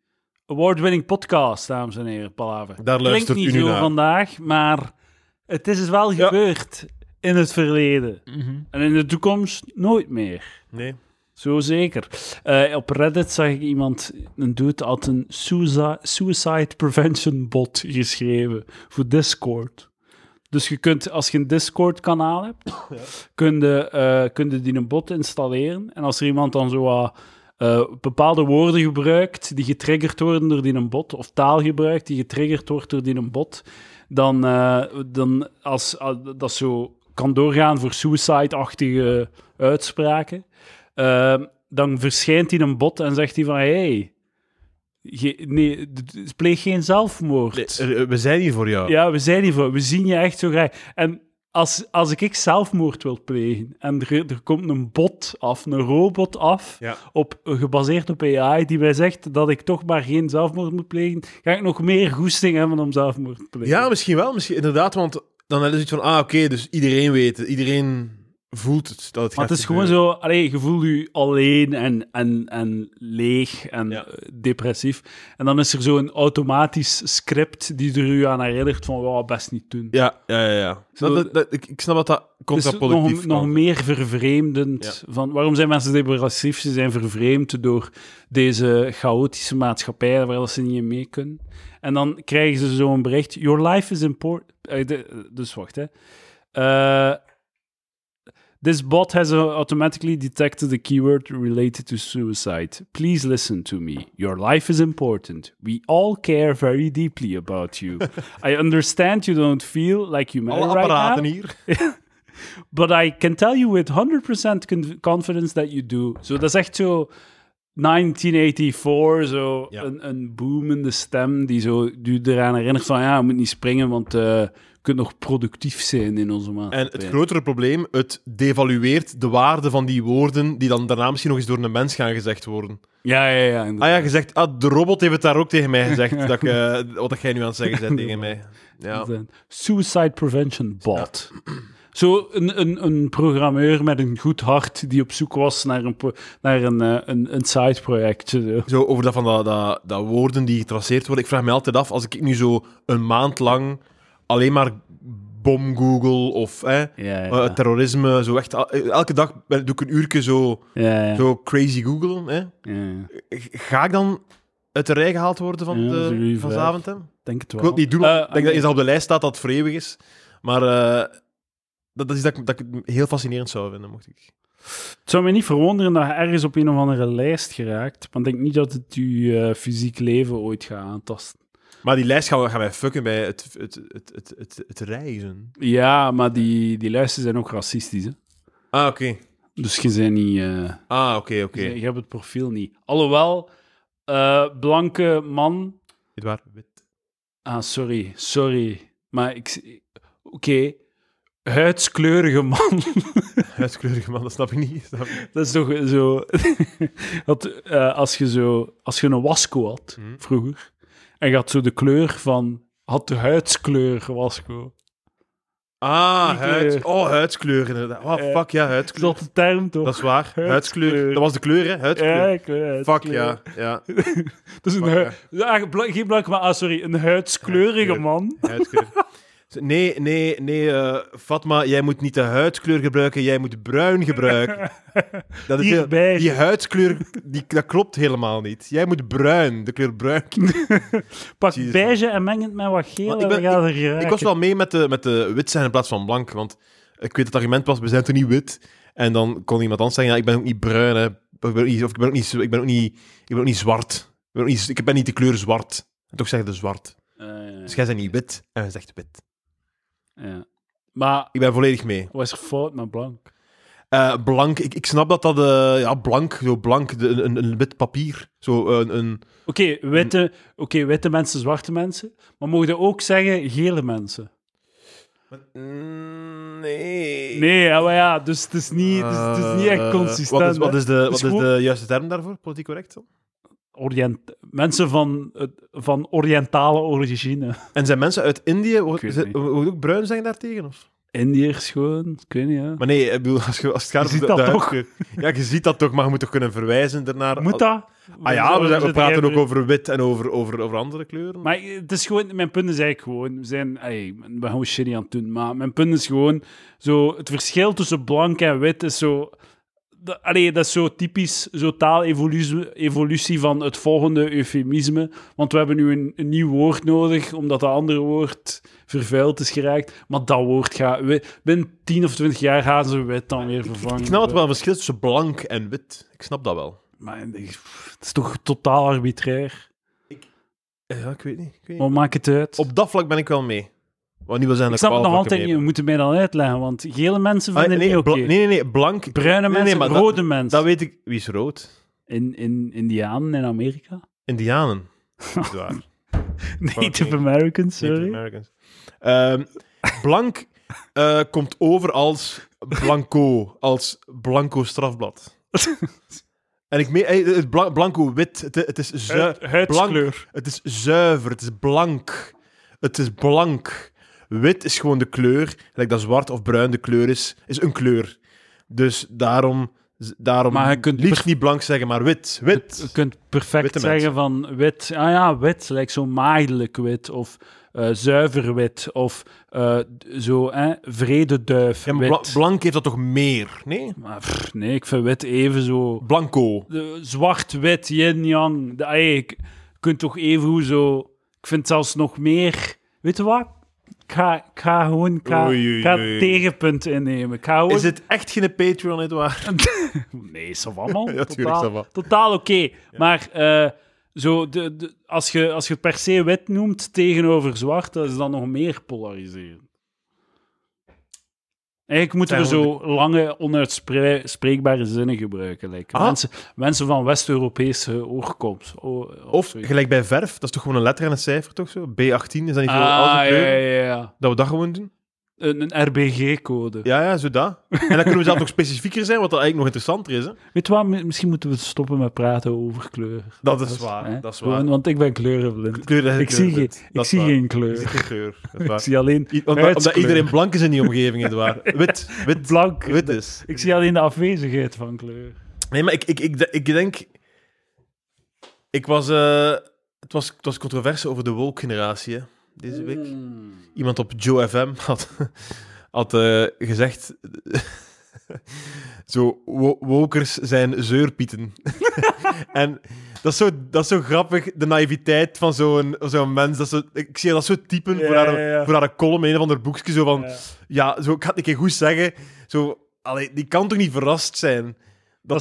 A: Award-winning podcast, dames en heren, Palaver.
B: Daar luistert
A: Klinkt
B: u
A: niet
B: nu
A: zo
B: naar.
A: vandaag, maar het is dus wel
B: Ja.
A: gebeurd in het verleden.
B: Mhm.
A: En in de toekomst nooit meer.
B: Nee.
A: Zo zeker. Eh, op Reddit zag ik iemand, een dude, had een suicide, suicide prevention bot *laughs* geschreven voor Discord. Dus je kunt, als je een Discord-kanaal hebt, kun, je, eh, kun je die een bot installeren. En als er iemand dan zo wat, eh, bepaalde woorden gebruikt die getriggerd worden door die een bot, of taal gebruikt die getriggerd wordt door die een bot, dan, eh, dan als, als dat zo kan doorgaan voor suicide-achtige uitspraken. Ehm, dan verschijnt hij een bot en zegt hij van... Hey, ge- nee, d- d- pleeg geen zelfmoord.
B: Eh, eh, We zijn hier voor jou.
A: Ja, we zijn hier voor. We zien je echt zo graag. En als, als ik, ik zelfmoord wil plegen en er, er komt een bot af, een robot af,
B: Ja.
A: op, gebaseerd op AI, die mij zegt dat ik toch maar geen zelfmoord moet plegen, ga ik nog meer goesting hebben om zelfmoord te plegen.
B: Ja, misschien wel. Misschien, inderdaad, want dan is het iets van, ah, oké, dus iedereen weet het. Iedereen voelt het, dat het
A: Maar
B: gaat
A: het is gewoon
B: gebeuren.
A: zo, allee, je voelt je alleen en, en, en leeg en
B: Ja.
A: eh, depressief. En dan is er zo'n automatisch script die er u aan herinnert van, wauw, best niet doen.
B: Ja, ja, ja. ja.
A: Zo-
B: dat, dat- ik, ik snap dat dat
A: Dus
B: contraproductief
A: nog,
B: kan
A: nog
B: zijn.
A: meer vervreemdend. Van, waarom zijn mensen depressief? Ze zijn vervreemd door deze chaotische maatschappij waar dat ze niet in mee kunnen. En dan krijgen ze zo'n bericht. Your life is important. eh, de- dus wacht, hè. Eh, this bot has automatically detected a keyword related to suicide. Please listen to me. Your life is important. We all care very deeply about
B: *laughs*
A: you. I understand you don't feel like you matter
B: Alle
A: right now.
B: apparaten hier.
A: But I can tell you with 100% con- confidence that you do. Zo, dat is echt zo 1984, zo
B: Ja.
A: een, een boomende stem die zo die eraan herinnert van ja, je moet niet springen, want eh, je kunt nog productief zijn in onze maatschappij.
B: En het grotere probleem, het devalueert de waarde van die woorden die dan daarna misschien nog eens door een mens gaan gezegd worden.
A: Ja, ja, ja. inderdaad.
B: Ah ja, gezegd, ah, de robot heeft het daar ook tegen mij gezegd, dat ik, eh, wat dat jij nu aan het zeggen bent tegen mij. Ja.
A: Een Suicide prevention bot. Zo een, een, een programmeur met een goed hart die op zoek was naar een, pro- naar een, eh, een, een sideproject. zo.
B: Zo over dat van dat, dat, dat woorden die getraceerd worden. Ik vraag me altijd af, als ik nu zo een maand lang alleen maar bom Google of hè,
A: Ja, ja.
B: eh, terrorisme, zo echt, al- elke dag doe ik een uurtje zo,
A: Ja, ja,
B: zo crazy googlen. Hè.
A: ja.
B: Ga ik dan uit de rij gehaald worden van,
A: Ja,
B: de-
A: dat is een goeie
B: van
A: vraag.
B: Zaventem?
A: Ik denk het wel.
B: Ik wil het niet doen,
A: Eh,
B: want ik denk dat
A: I
B: eens dat op de lijst staat dat het vreeuwig is. Maar eh, dat, dat is dat, ik- dat ik het heel fascinerend zou vinden, mocht ik.
A: Het zou me niet verwonderen dat je ergens op een of andere lijst geraakt, want ik denk niet dat het je eh, fysiek leven ooit gaat aantasten.
B: Maar die lijst gaan, we- gaan wij fucken bij het, het, het, het, het, het reizen.
A: Ja, maar die, die lijsten zijn ook racistisch, hè.
B: Ah, oké.
A: Dus je bent niet... eh,
B: Ah, oké, oké.
A: je, je hebt het profiel niet. Alhoewel, eh, blanke man...
B: Dit waar? Wit.
A: Ah, sorry, sorry. Maar ik... Oké. Huidskleurige man.
B: Huidskleurige man, dat snap ik niet. *laughs* Snap ik. niet.
A: Dat is toch zo... *laughs* dat, eh, als, je zo als je een wasco had,
B: Mhm.
A: vroeger, en je had zo de kleur van... Had de huidskleur wasco.
B: Ah,
A: Die
B: huid.
A: kleur.
B: Oh, huidskleur inderdaad. Oh,
A: Eh,
B: fuck, ja,
A: Is
B: huidskleur.
A: dat de term, toch?
B: Dat is waar. Huidskleur.
A: *laughs* Huidskleur.
B: Dat was de kleur, hè?
A: ja,
B: Huidskleur.
A: ik weet het,
B: Fuck,
A: kleur.
B: ja. ja.
A: *laughs* Dat is een
B: Fuck,
A: hui- Ah, bla- geen blanke, maar ah, sorry, een huidskleurige
B: Huidskleur.
A: man.
B: Huidskleur. Nee, nee, nee, eh, Fatma, jij moet niet de huidskleur gebruiken, jij moet bruin gebruiken. Dat is heel-
A: Hierbij.
B: die huidskleur, die, dat klopt helemaal niet. Jij moet bruin, de kleur bruin.
A: Pak
B: Jezus,
A: beige en meng het met wat
B: Want
A: geel
B: ik
A: en
B: ben-
A: we gaan er geraken.
B: Ik was wel mee met de, met de wit zijn in plaats van blank, want ik weet dat het argument was, we zijn toch niet wit? En dan kon iemand anders zeggen, ja, ik ben ook niet bruin, hè. Ik ben ook niet, of ik ben ook niet, ik ben ook niet, ik ben ook niet zwart. Ik ben, ook niet, ik ben niet de kleur zwart. En toch zeggen de zwart.
A: Eh,
B: Dus jij bent niet wit, en hij zegt wit.
A: ja. Maar
B: Ik ben volledig mee.
A: wat is er fout met blank?
B: Eh, blank, ik, ik snap dat dat, eh, ja, blank, zo blank, de- een, een wit papier. Zo een, een
A: Oké, witte,
B: Mm.
A: oké, witte mensen, zwarte mensen. Maar mogen we ook zeggen gele mensen?
B: nee.
A: Nee, ja, maar ja, dus het is niet, het is, het is niet echt
B: Eh,
A: consistent.
B: Wat is, wat is, de, wat
A: is
B: is
A: gewoon-
B: de juiste term daarvoor, politiek correct? dan?
A: hè. Orient, mensen van, eh, van oriëntale origine.
B: En zijn mensen uit Indië,
A: Ik
B: wordt-
A: weet
B: ze-
A: het niet.
B: wordt ook bruin zijn daartegen? Of?
A: Indiërs gewoon, ik weet niet, ja.
B: Maar nee, ik bedoel, als, je, als het gaat
A: Je
B: om
A: ziet
B: de-
A: dat
B: de
A: toch?
B: huidskleur- Ja, je ziet dat toch, maar je moet toch kunnen verwijzen daarnaar.
A: Moet dat?
B: Ah ja, we, zijn- we
A: Zitten
B: praten
A: jij-
B: ook over wit en over, over, over andere kleuren.
A: Maar het is gewoon, mijn punt is eigenlijk gewoon, we zijn, ey, we zijn gewoon shitty aan het doen, maar mijn punt is gewoon, zo, het verschil tussen blank en wit is zo, dat, allee, dat is zo typisch, zo taalevolutie evolutie van het volgende eufemisme, want we hebben nu een, een nieuw woord nodig, omdat dat andere woord vervuild is geraakt, maar dat woord gaat, we- binnen 10 of 20 jaar gaan ze wit dan weer vervangen.
B: ik snap het wel, een verschil tussen blank en wit. Ik snap dat wel.
A: Maar het is toch totaal arbitrair?
B: Ja, ik weet niet. Ik weet niet.
A: Wat maakt het uit?
B: Op dat vlak ben ik wel mee. Wat niet wil zijn
A: Ik
B: dat
A: snap het nog
B: alle vlakken
A: altijd niet.
B: mee
A: We moeten mij dan uitleggen, want gele mensen vinden
B: ben. Ah,
A: het niet
B: nee,
A: oké.
B: bla- nee, nee, nee, blank.
A: Bruine
B: Nee, nee,
A: mensen,
B: maar dat-
A: rode mensen.
B: Dat weet ik. Wie is rood?
A: In, in Indianen in Amerika?
B: *laughs*
A: *laughs*
B: Indianen. Dat is waar.
A: Native Americans,
B: Native
A: sorry.
B: Americans. Ehm, blank eh, komt over als blanco, als blanco strafblad.
A: *laughs*
B: en ik meen, eh, het bla- blanco wit, het, het is zuiver.
A: Huid- huidskleur.
B: Het is zuiver, het is blank. Het is blank. Wit is gewoon de kleur, gelijk dat zwart of bruin de kleur is, is een kleur. Dus daarom, daarom
A: Maar je kunt
B: liefst niet blank zeggen, maar wit, wit.
A: Je kunt perfect
B: Witte
A: zeggen van wit. Ah ja, wit. Lijkt zo maagdelijk wit. Of eh, zuiver wit. Of eh, d- zo, hè, vrededuif
B: Ja, maar bla-
A: wit.
B: blank heeft dat toch meer? Nee?
A: maar pff, nee, ik vind wit even zo...
B: Blanco.
A: de zwart-wit, yin-yang. de- ey, ik- Je kunt toch even zo. Ik vind zelfs nog meer. Weet je wat? Ik ga, ik ga gewoon ik ga,
B: Oei, oei,
A: ik ga
B: oei.
A: het tegenpunt innemen. Ik ga gewoon...
B: Is het echt geen Patreon, nietwaar?
A: Nee, ça va, man.
B: *laughs* Ja, tuurlijk, ça va.
A: totaal totaal oké. Maar eh, zo, de, de, als, je, als je het per se wit noemt tegenover zwart, dat is dan nog meer polariseren. Eigenlijk moeten we
B: Zijn we
A: zo lange, onuitspreekbare zinnen gebruiken. like
B: Ah.
A: Mensen, mensen van West-Europese oorkomst. O-
B: *laughs* Of
A: zoiets.
B: gelijk bij verf, dat is toch gewoon een letter en een cijfer, toch zo? B18, is dat niet zo?
A: Ah,
B: als een
A: ja,
B: kleur?
A: ja, ja.
B: Dat we dat gewoon doen?
A: Een, een RBG-code.
B: Ja, ja, zo dat. En dan kunnen we zelf *laughs* nog specifieker zijn, wat dan eigenlijk nog interessanter is. Hè?
A: Weet je wat, mi- misschien moeten we stoppen met praten over kleur.
B: Dat is waar,
A: Hè?
B: Ah, dat is
A: Gewoon,
B: waar.
A: Want ik ben kleurenblind.
B: Kleur, dat is
A: Ik zie, geen,
B: kleurenblind.
A: ik
B: Dat is
A: zie
B: waar.
A: geen
B: Je ziet
A: kleur.
B: geen kleur. Dat
A: *laughs*
B: is
A: Ik
B: waar.
A: zie alleen
B: I- Omdat, omdat
A: huidskleur.
B: iedereen blank is in die omgeving, is het
A: *laughs*
B: waar. Wit, wit,
A: blank.
B: wit is.
A: Ik zie alleen de afwezigheid van kleur.
B: Nee, maar ik, ik, ik, ik denk... Ik was, eh, het was... Het was controverse over de woke-generatie hè, deze week. Iemand op Joe FM *laughs* had, had eh, gezegd... zo, wo- wokers zijn zeurpieten. *laughs* en dat is, zo, dat is zo grappig, de naïviteit van zo'n zo'n mens. Dat is zo, ik zie dat zo typen
A: Ja,
B: voor, haar,
A: ja, ja.
B: voor haar column, in een of ander boekje, zo van...
A: Ja.
B: Ja, zo, ik ga het een keer goed zeggen. Zo, allee, die kan toch niet verrast zijn dat,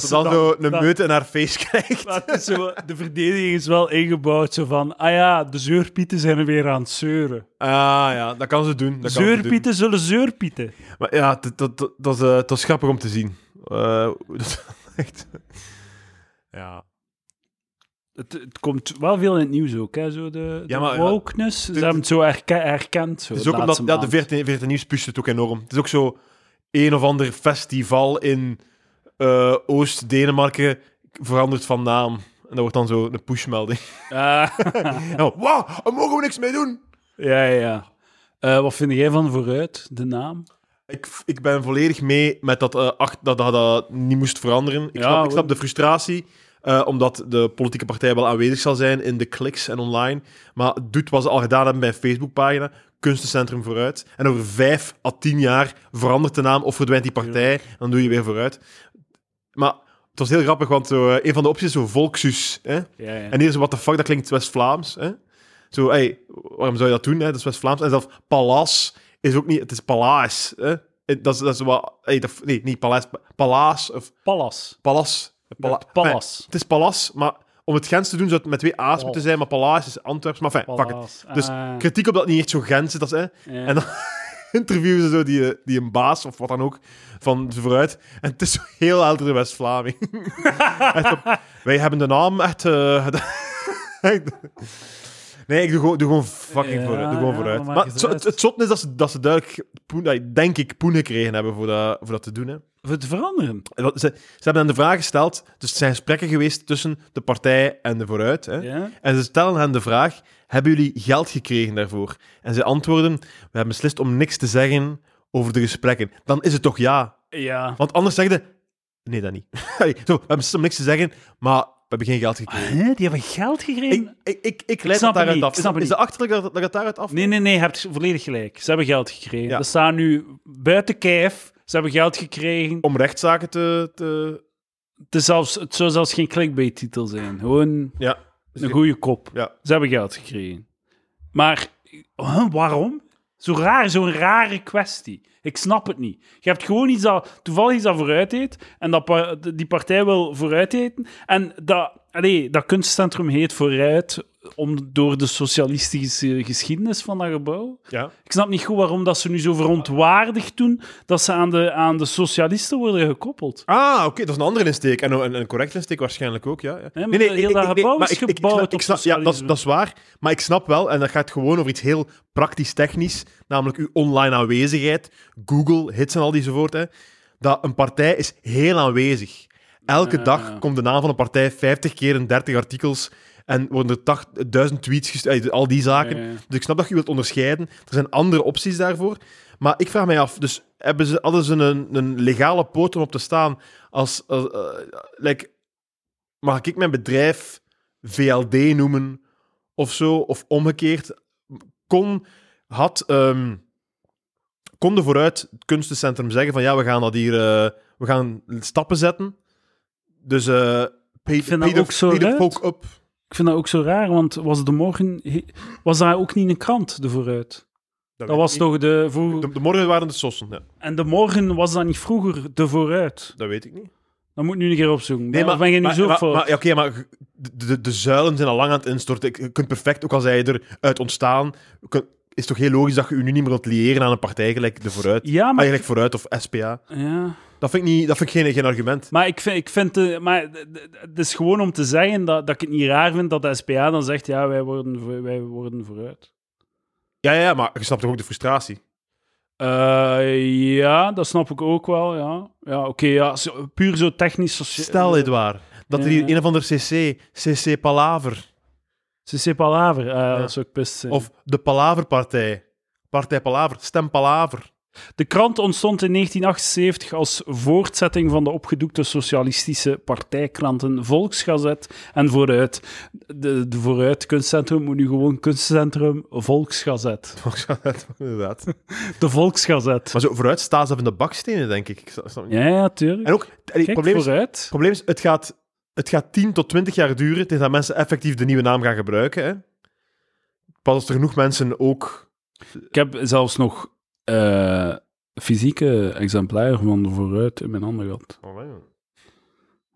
A: Dat
B: ze
A: ze
B: dan
A: dat-
B: zo een
A: dat-
B: meute in haar feest *laughs* krijgt?
A: Maar het is zo- de verdediging is wel ingebouwd zo van, ah ja, de zeurpieten zijn weer aan het zeuren.
B: Ah ja, dat kan ze doen. Dat kan ze doen.
A: Zeurpieten zullen zeurpieten.
B: Maar ja, dat, dat, dat, dat, is, eh, dat is grappig om te zien. Eh, dat, *laughs* echt. Ja.
A: Het, het komt wel veel in het nieuws ook, hè? Zo de, de
B: Ja, maar-
A: wokeness. Ze
B: het-
A: hebben het zo herke- herkend. Zo,
B: Het is
A: de
B: ook omdat
A: laatste
B: ja, de
A: maand.
B: 14, 14 nieuws pusht het ook enorm. Het is ook zo een of ander festival in eh, Oost-Denemarken verandert van naam. En dat wordt dan zo een pushmelding.
A: Ah, *laughs*
B: *laughs* En dan, Wauw, daar mogen we niks mee doen!
A: ja, ja. ja. Eh, wat vind jij van vooruit, de naam?
B: Ik, ik ben volledig mee met dat, eh, ach- dat, dat dat niet moest veranderen. Ik,
A: Ja,
B: snap, ik
A: hoor.
B: snap de frustratie, eh, omdat de politieke partij wel aanwezig zal zijn in de kliks en online. Maar doet wat ze al gedaan hebben bij een Facebookpagina, Kunstencentrum vooruit. En over vijf à tien jaar verandert de naam of verdwijnt die partij. en Dan doe je weer vooruit. Maar het was heel grappig, want zo, eh, een van de opties is zo Volksus. Hè?
A: Ja, ja.
B: En hier is wat de fuck, dat klinkt West-Vlaams. Hè? Zo, hey, waarom zou je dat doen? Hè? Dat is West-Vlaams. En zelf Palaas is ook niet, het is Palaas. Hè? En Dat is, dat is wat, hey, dat- nee, niet Palaas, pa- Palaas of
A: Pallas.
B: Palas. Pala-
A: Met Pallas.
B: Enfin, het is Palas, maar om het Gens te doen zou het met twee A's moeten
A: Palas.
B: zijn, maar Palaas is Antwerps. Maar enfin, fuck it.
A: Pallas.
B: Dus
A: Ah,
B: Kritiek op dat het niet echt zo Gens is, dat is, hè?
A: ja.
B: En dan *laughs* interviewen ze zo die, eh, die een baas of wat dan ook van ze vooruit. En het is zo heel oudere West-Vlaming. *laughs* Echt zo, wij hebben de naam echt. eh, *laughs* gedaan." Echt. nee, ik doe gewoon, doe gewoon fucking
A: Ja,
B: vooruit. Doe gewoon
A: ja,
B: vooruit.
A: maar
B: Maar,
A: maak
B: het,
A: eens
B: zo-
A: uit.
B: het, het zotte is dat ze, dat ze duidelijk, poen, dat ik denk ik, poen gekregen hebben voor dat, voor dat te doen. Hè.
A: Voor het veranderen.
B: En dat- Ze, ze hebben aan de vraag gesteld, dus er zijn gesprekken geweest tussen de partij en de vooruit. Hè.
A: Ja?
B: En ze stellen hen de vraag: Hebben jullie geld gekregen daarvoor? En ze antwoorden: We hebben beslist om niks te zeggen over de gesprekken. Dan is het toch ja?
A: Ja.
B: Want anders zeggen ze: Nee, dat niet. *laughs* Allee, Zo, we hebben beslist om niks te zeggen, maar we hebben geen geld gekregen.
A: Hè, die hebben geld gekregen?
B: Ik, ik, ik, ik leid
A: snap
B: dat
A: het
B: daaruit
A: niet, Ah,
B: af.
A: ik
B: Is,
A: snap het
B: is de achterlijk dat, dat het daaruit af?
A: Nee, nee, nee, je hebt volledig gelijk. Ze hebben geld gekregen.
B: Ja.
A: Ze staan nu buiten kijf. Ze hebben geld gekregen.
B: Om rechtszaken te. te...
A: Het, is zelfs, het zou zelfs geen clickbait-titel zijn. Gewoon
B: Ja.
A: een goede kop.
B: Ja.
A: Ze hebben geld gekregen. Maar huh, waarom? Zo raar, zo'n rare kwestie. Ik snap het niet. Je hebt gewoon iets dat toevallig iets dat vooruit heet en dat pa- die partij wil vooruit heten. En dat, allee, dat kunstcentrum heet vooruit om, door de socialistische geschiedenis van dat gebouw.
B: ja.
A: Ik snap niet goed waarom dat ze nu zo verontwaardigd doen dat ze aan de, aan de socialisten worden gekoppeld.
B: Ah, oké, dat is een andere insteek. En een, een correcte insteek waarschijnlijk ook, ja. ja.
A: maar heel dat gebouw
B: maar
A: is gebouwd
B: snap-
A: op
B: snap- Ja, dat, is-
A: socialisme.
B: dat is waar. Maar ik snap wel, en dat gaat gewoon over iets heel praktisch-technisch, namelijk uw online aanwezigheid, Google, hits en al die enzovoort, hè, dat een partij is heel aanwezig. Elke
A: Ja,
B: dag
A: ja.
B: komt de naam van een partij 50 keer in 30 artikels en worden er 8 duizend tweets gestuurd, eh, al die zaken.
A: Ja, ja.
B: Dus ik snap dat je wilt onderscheiden. Er zijn andere opties daarvoor. Maar ik vraag mij af, dus hebben ze, hadden ze een, een legale poot om op te staan als... als, eh, like, mag ik mijn bedrijf VLD noemen of zo? Of omgekeerd? Kon, had, ehm kon de vooruit het kunstencentrum zeggen van ja, we gaan dat hier... eh, we gaan stappen zetten. Dus... eh pay,
A: vind dat
B: pay the-
A: ook zo
B: pay the
A: luid.
B: folk up.
A: Ik vind dat ook zo raar, want was de morgen he- was daar ook niet een krant de vooruit?
B: weet
A: Dat was
B: ik
A: toch de
B: niet.
A: vroeger
B: De, de morgen waren de sossen, ja.
A: en de morgen was dat niet vroeger de vooruit.
B: Dat weet ik niet.
A: Dat moet ik nu een keer opzoeken. Nee, maar ben je nu
B: maar-
A: zo
B: maar-
A: voor?
B: maar- ja, Oké, maar ge- de, de, de zuilen zijn al lang aan het instorten. Ik- Je kunt perfect, ook al zij eruit ontstaan, kun- is toch heel logisch dat je je nu niet meer wilt liëren aan een partij gelijk de vooruit.
A: Ja, maar,
B: Eigenlijk vooruit of SPA.
A: ja.
B: Dat vind ik, niet, dat vind ik geen, geen argument.
A: maar ik vind, ik vind eh, maar d- d- d- het is gewoon om te zeggen dat, dat ik het niet raar vind dat de SPA dan zegt ja wij worden, voor- wij worden vooruit.
B: Ja, ja, ja, maar je snapt toch ook de frustratie.
A: Eh, ja, dat snap ik ook wel, ja. Ja, oké, ja, zo- puur zo technisch... socia-
B: Stel, Edouard, dat er
A: Ja.
B: hier een of ander CC, CC Palaver,
A: CC Palaver, eh, dat zou ik best zijn.
B: of de Palaverpartij, Partij Palaver,
A: *laughs*
B: Stem Palaver.
A: De krant ontstond in 1978 als voortzetting van de opgedoekte socialistische partijkranten Volksgazet en Vooruit. De, de Vooruit kunstcentrum moet nu gewoon kunstcentrum Volksgazet.
B: Inderdaad.
A: De Volksgazet.
B: Maar zo vooruit staan ze in de bakstenen, denk ik. ik snap- snap niet.
A: Ja, ja, tuurlijk.
B: En ook, allee, het
A: Kijk,
B: probleem is, het
A: Vooruit.
B: probleem is het, gaat, het gaat 10 tot 20 jaar duren tegen dat mensen effectief de nieuwe naam gaan gebruiken. Hè. Pas als er genoeg mensen ook...
A: Ik heb zelfs nog eh, fysieke exemplaren van de Vooruit in mijn handen gehad.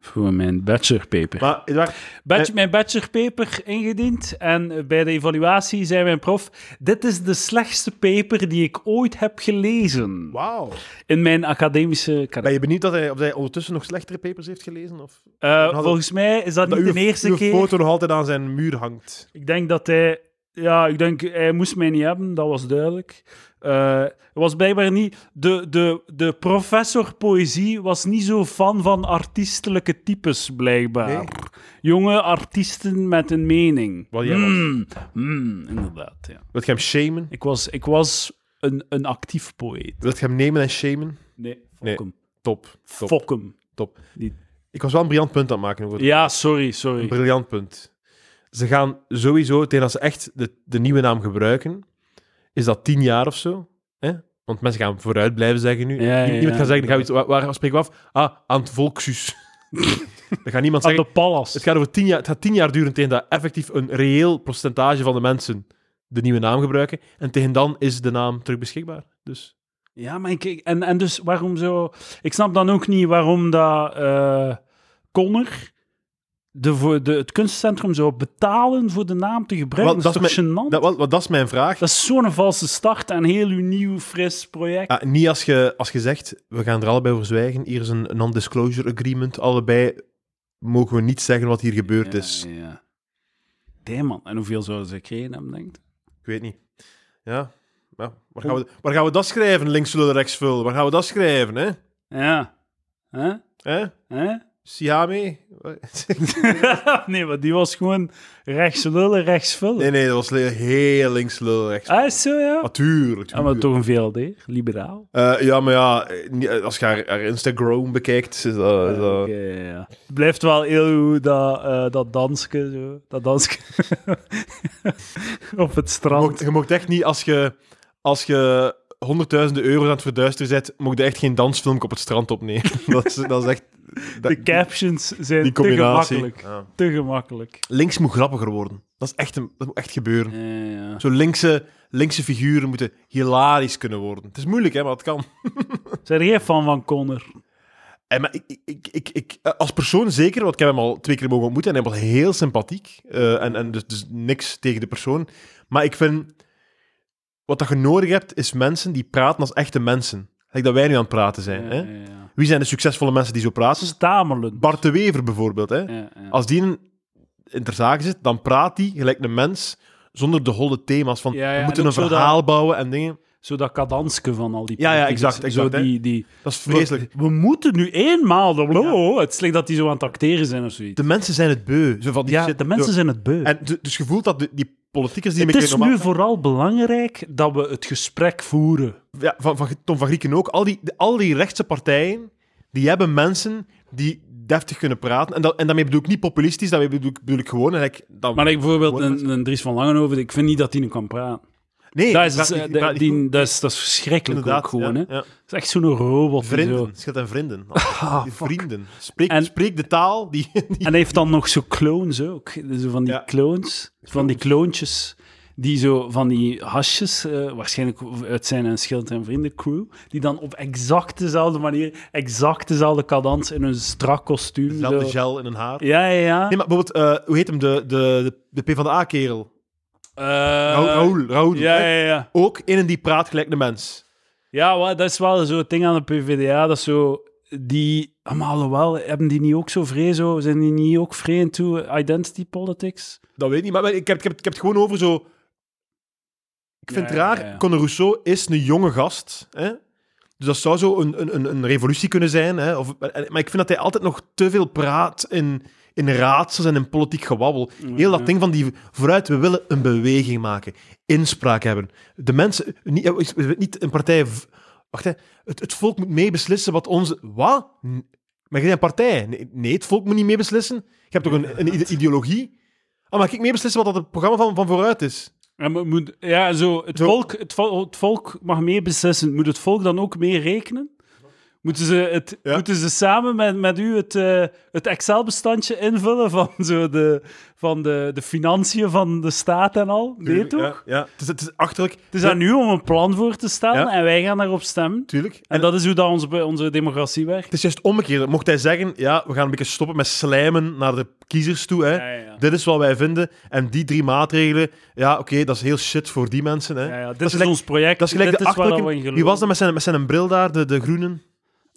A: Voor mijn bachelorpaper.
B: Maar, Edouard,
A: Bachelor-
B: Eh.
A: mijn bachelorpaper ingediend en bij de evaluatie zei mijn prof: Dit is de slechtste paper die ik ooit heb gelezen
B: wauw.
A: in mijn academische
B: Ben
A: carrière.
B: je benieuwd dat hij, of hij ondertussen nog slechtere papers heeft gelezen? Of
A: Eh,
B: hadden-
A: volgens mij is dat,
B: dat
A: niet
B: uw-
A: de eerste
B: uw
A: keer.
B: foto nog altijd aan zijn muur hangt?
A: Ik denk dat hij. Ja, ik denk, hij moest mij niet hebben, dat was duidelijk. Eh, Hij was blijkbaar niet. De, de, de professor poëzie was niet zo fan van artiestelijke types, blijkbaar.
B: Nee?
A: Jonge artiesten met een mening.
B: Wat jij
A: Hmm, hmm, inderdaad, ja.
B: Wilt je hem shamen?
A: Ik was, ik was een, een actief poëet.
B: Wilt je hem nemen en shamen?
A: Nee, fok
B: Nee.
A: hem.
B: Top, top,
A: Fok hem.
B: top.
A: Die-
B: Ik was wel een briljant punt aan het maken. over het-
A: Ja, sorry,
B: Een
A: sorry.
B: briljant punt. Ze gaan sowieso, tegen als ze echt de, de nieuwe naam gebruiken, is dat tien jaar of zo. Hè? Want mensen gaan vooruit blijven zeggen nu.
A: Ja, ja,
B: Niemand
A: ja.
B: gaat zeggen, gaan we iets, waar, waar spreken we af? Ah, aan het *laughs* volkshuis. dat gaat niemand
A: Aan
B: zeggen.
A: de Pallas.
B: Het gaat, over tien jaar, het gaat tien jaar duren tegen dat effectief een reëel percentage van de mensen de nieuwe naam gebruiken. En tegen dan is de naam terug beschikbaar. Dus
A: Ja, maar ik, ik- en, en dus waarom zo... Ik snap dan ook niet waarom dat eh Conner de, voor de, het kunstcentrum zou betalen voor de naam te gebruiken.
B: Wel,
A: dat,
B: dat
A: is
B: is
A: toch gênant?
B: dat, wel- wel, dat is mijn vraag.
A: Dat is zo'n valse start aan heel uw nieuw, fris project.
B: Ja, Ah, niet als je, als je zegt, we gaan er allebei voor zwijgen. Hier is een non-disclosure agreement. Allebei mogen we niet zeggen wat hier gebeurd
A: Ja,
B: is.
A: ja. Damn, man. En hoeveel zouden ze gekregen hebben, denkt
B: Ik weet niet. Ja. ja. Waar, gaan we, waar gaan we dat schrijven? Links zullen rechts vullen. Waar gaan we dat schrijven? Hè?
A: Ja. Hè?
B: hè?
A: Hè?
B: Siame?
A: *laughs* nee, maar die was gewoon rechts lullen, rechts vullen.
B: *laughs* nee, nee, dat was le- heel links zullen rechts.
A: Ah, is zo, ja?
B: Natuurlijk.
A: Ja, maar toch een VLD, liberaal.
B: Eh, ja, maar ja, eh, niet- eh, als je haar, haar Instagram bekijkt, is dat... is dat-
A: Oké, ja, ja. Het blijft wel heel goed dat, eh dat dansken, zo. Dat dansken *laughs* op het
B: Je,
A: strand.
B: mocht, je mocht echt niet, als je, als je honderdduizenden euro's aan het verduisteren zet, mocht je echt geen dansfilm op het strand opnemen. *laughs* dat, is, dat is echt... dat-
A: De captions zijn
B: die
A: te
B: combinatie.
A: gemakkelijk.
B: Ja.
A: Te gemakkelijk.
B: Links moet grappiger worden. Dat, is echt een, dat moet echt gebeuren.
A: Ja, ja.
B: Zo linkse, linkse figuren moeten hilarisch kunnen worden. Het is moeilijk, hè, maar het kan.
A: Zijn er geen fan van Connor?
B: En, maar ik, ik, ik, ik, eh, als persoon zeker, want ik heb hem al twee keer mogen ontmoeten en hij was heel sympathiek. eh, en en dus, dus niks tegen de persoon. Maar ik vind, wat dat je nodig hebt, is mensen die praten als echte mensen. Like dat wij nu aan het praten zijn.
A: Ja,
B: hè?
A: ja, ja.
B: Wie zijn de succesvolle mensen die zo praten?
A: Stamelen.
B: Bart de Wever bijvoorbeeld. Hè?
A: Ja, ja.
B: Als die in, in ter zake zit, dan praat die gelijk een mens zonder de holle thema's van
A: Ja, ja,
B: we
A: en
B: moeten
A: ook
B: een
A: zo dat-
B: verhaal bouwen en dingen.
A: Zo dat kadanske van al die
B: Ja, ja,
A: politici.
B: exact, exact,
A: zo
B: hè.
A: die, die...
B: Dat is vreselijk.
A: We, we moeten nu eenmaal... De, oh, het is slecht dat die zo aan het acteren zijn of zoiets.
B: De mensen zijn het beu. Zo van die
A: ja,
B: shit
A: de mensen
B: door-
A: zijn het beu.
B: En du- dus je voelt dat de- die politiekers die
A: het
B: een
A: is
B: keer normaal-
A: nu vooral belangrijk dat we het gesprek voeren.
B: ja, van, van Tom van Grieken ook, al die, de- al die rechtse partijen, die hebben mensen die deftig kunnen praten. En, dat, en daarmee bedoel ik niet populistisch, daarmee bedoel ik, bedoel ik gewoon... eigenlijk dat,
A: Maar ik bijvoorbeeld
B: Gewoon
A: een, een Dries van Langenhoven, ik vind niet dat hij nu kan praten.
B: nee,
A: dat,
B: ik
A: is,
B: praat
A: eh,
B: niet- ik
A: de-
B: praat niet
A: die-
B: goed.
A: dat, is, dat is verschrikkelijk ook gewoon.
B: ja,
A: hè.
B: ja.
A: Het is echt zo'n robot. en
B: Vrienden,
A: Zo. Ah,
B: het scheelt aan vrienden.
A: *laughs* fuck.
B: Die vrienden. Spreek,
A: En-
B: spreek de taal die... *laughs*
A: En hij heeft dan nog zo clones ook. Zo van die
B: Ja.
A: clones, van die kloontjes. Die zo van die hasjes, eh, waarschijnlijk uit zijn een schild- en vriendencrew, die dan op exact dezelfde manier, exact dezelfde cadans in hun strak kostuum.
B: Zelfde
A: zo-
B: gel in een haar.
A: Ja, ja, ja.
B: Nee, maar bijvoorbeeld, eh, hoe heet hem, de, de, de, de PvdA-kerel?
A: Eh,
B: Raoul, Raoul, Raoul,
A: ja,
B: hè?
A: ja, ja.
B: Ook in een die praat gelijk een mens.
A: Ja, wa- dat is wel zo'n ding aan de PvdA. Dat is zo die. ah, Maar alhoewel, hebben die niet ook zo vrij zo? Zijn die niet ook vrij in toe identity politics?
B: Dat weet ik niet, maar ik heb, ik, heb, ik heb het gewoon over zo... Ik
A: Ja,
B: vind het
A: ja,
B: raar,
A: ja, ja.
B: Conor Rousseau is een jonge gast. Hè? Dus dat zou zo een, een, een, een revolutie kunnen zijn. Hè? Of, eh, maar ik vind dat hij altijd nog te veel praat in, in raadsels en in politiek gewabbel. Heel dat ding van die vooruit, we willen een beweging maken. Inspraak hebben. De mensen, niet, eh, is- is- niet een partij... v- Wacht, hè. Het, het volk moet meebeslissen wat onze... Wat? N- Maar je bent een partij. Nee, nee, het volk moet niet meebeslissen. Je hebt toch een, een ide- ideologie? Ah, maar ik meebeslissen wat dat het programma van, van vooruit is?
A: Ja, maar moet, ja zo, het,
B: Zo.
A: Volk, het, vol- het volk mag meebeslissen. Moet het volk dan ook mee rekenen? Moeten ze, het,
B: Ja.
A: moeten ze samen met, met u het, eh, het Excel-bestandje invullen van, *laughs* zo de, van de, de financiën van de staat en al? Nee, toch?
B: Ja, ja. Het, is, het is achterlijk.
A: Het is aan u om een plan voor te stellen
B: Ja.
A: en wij gaan daarop stemmen.
B: Tuurlijk. En,
A: En dat is hoe dat onze, onze democratie werkt.
B: het is juist omgekeerd. Mocht hij zeggen, ja, we gaan een beetje stoppen met slijmen naar de kiezers toe. Hè.
A: Ja, ja, ja.
B: Dit is wat wij vinden. En die drie maatregelen, ja, oké, dat is heel shit voor die mensen. Hè.
A: Ja, ja, dit
B: dat
A: is,
B: is gelijk-
A: ons project.
B: Dat is gelijk
A: dit
B: de
A: is waar we in
B: achterlijke...
A: geloven.
B: Wie was dat met zijn, met zijn bril daar, de, de groenen?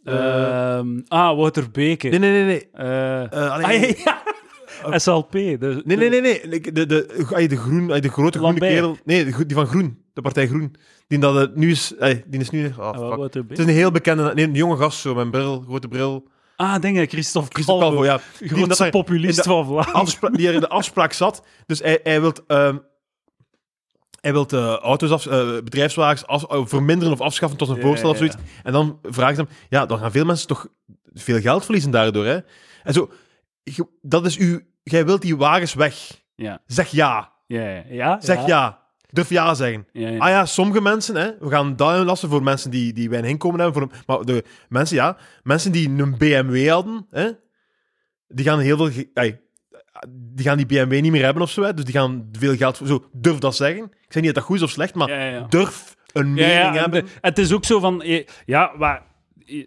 A: Ehm, ah, Wouter Beke.
B: Nee, nee, nee. nee.
A: Eh,
B: Eh, allee,
A: ah, ja, ja. *laughs* SLP. De,
B: Nee, nee, nee. nee. De, de, de, ai, de, groen, ai, de grote
A: Lambert.
B: groene kerel. Nee, de gro- die van Groen. De partij Groen. Die, dat, het nu is, ai, die is nu... ah,
A: Ah,
B: fuck.
A: Wouter Beke.
B: Het is een heel bekende... Nee, een jonge gast zo, met een bril, grote bril.
A: Ah, dingen, Christophe
B: Christophe
A: Calvo.
B: Calvo, ja. Die-
A: Grootste
B: dat hij-
A: populist
B: in de-
A: van Vlaanderen.
B: afspra- die er in de afspraak zat. Dus hij, hij wil. ehm, hij wil eh, auto's af, eh, bedrijfswagens af, eh, verminderen of afschaffen tot een
A: Ja,
B: voorstel of
A: ja, ja.
B: zoiets. En dan vraagt hem, ja, dan gaan veel mensen toch veel geld verliezen daardoor. Hè? En zo, je- dat is uw, jij wilt die wagens weg.
A: Ja.
B: Zeg ja.
A: Ja, ja, ja.
B: Zeg ja. Durf ja zeggen.
A: Ja, ja.
B: Ah ja, sommige mensen, hè, we gaan dat lasten voor mensen die, die weinig inkomen hebben. Voor, maar de mensen, ja, mensen die een BMW hadden, hè, die gaan heel veel. ge- ai, die gaan die BMW niet meer hebben of zo, hè, dus die gaan veel geld. Zo, durf dat zeggen. Ik zeg niet dat dat goed is of slecht, maar
A: Ja, ja, ja.
B: durf een
A: Ja,
B: mening
A: ja, en
B: hebben.
A: de- het is ook zo van... eh, Ja, maar,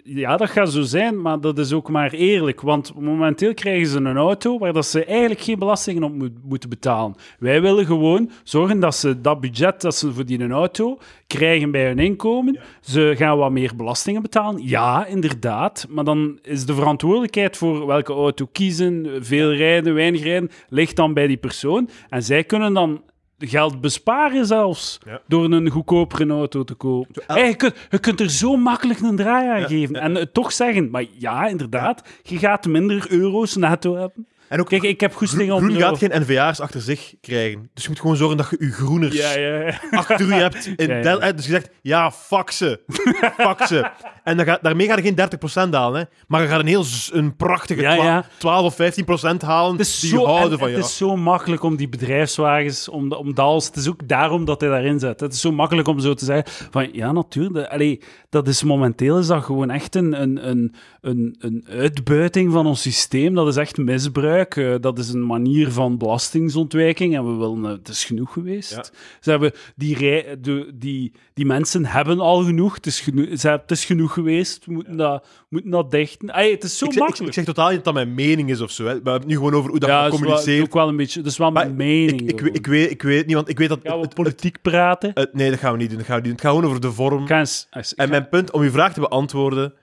A: ja, dat gaat zo zijn, maar dat is ook maar eerlijk. Want momenteel krijgen ze een auto waar dat ze eigenlijk geen belastingen op moet- moeten betalen. Wij willen gewoon zorgen dat ze dat budget dat ze voor die een auto krijgen bij hun inkomen. Ze gaan wat meer belastingen betalen. Ja, inderdaad. Maar dan is de verantwoordelijkheid voor welke auto kiezen, veel rijden, weinig rijden, ligt dan bij die persoon. En zij kunnen dan geld besparen zelfs
B: Ja.
A: door een goedkopere auto te kopen. Hey, je, kunt, je kunt er zo makkelijk een draai aan geven en het toch zeggen, maar ja, inderdaad, je gaat minder euro's netto hebben.
B: En ook
A: Kijk, ik heb goesting
B: groen,
A: om
B: groen
A: euro.
B: gaat geen NVA's achter zich krijgen. Dus je moet gewoon zorgen dat je je groeners
A: Ja, ja, ja.
B: achter u hebt.
A: *laughs*
B: In
A: Ja, ja.
B: Del- hè, dus je zegt, ja, fuck ze. *laughs* Fuck ze. En dan ga, daarmee ga je geen 30% halen, hè. maar je gaat een heel z- een prachtige
A: Ja,
B: twa-
A: ja.
B: 12 of 15% halen
A: Het is,
B: die
A: zo,
B: houden
A: en
B: van
A: het
B: jou.
A: is zo makkelijk om die bedrijfswagens, om, de- om dals, het is ook daarom dat hij daarin zet. Het is zo makkelijk om zo te zeggen van, ja, natuurlijk, de- allee, dat is momenteel is dat gewoon echt een, een, een, een, een uitbuiting van ons systeem. Dat is echt misbruik. Eh, dat is een manier van belastingsontwijking en we willen, eh, het is genoeg geweest.
B: Ja.
A: Ze hebben die, rij, de, die, die mensen hebben al genoeg. Het is, geno ze, het is genoeg geweest. We moeten, dat, we moeten dat dichten. Allee, het is zo
B: Ik zeg, ik,
A: makkelijk.
B: ik zeg totaal niet dat dat mijn mening is of zo. Hè. We hebben het nu gewoon over hoe dat
A: Ja,
B: je
A: dat is wel-
B: communiceert.
A: ook wel een beetje. Dat is wel mijn
B: Maar
A: mening.
B: Ik,
A: gewoon.
B: weet- ik, weet, ik weet het niet, want ik weet dat...
A: Gaan we
B: het- het-
A: politiek praten?
B: het- eh, nee, dat gaan we niet doen. Dat gaan we niet doen. Het gaat gewoon over de vorm.
A: Ik ga eens- eens- ik
B: En
A: ga-
B: mijn punt, om uw vraag te beantwoorden,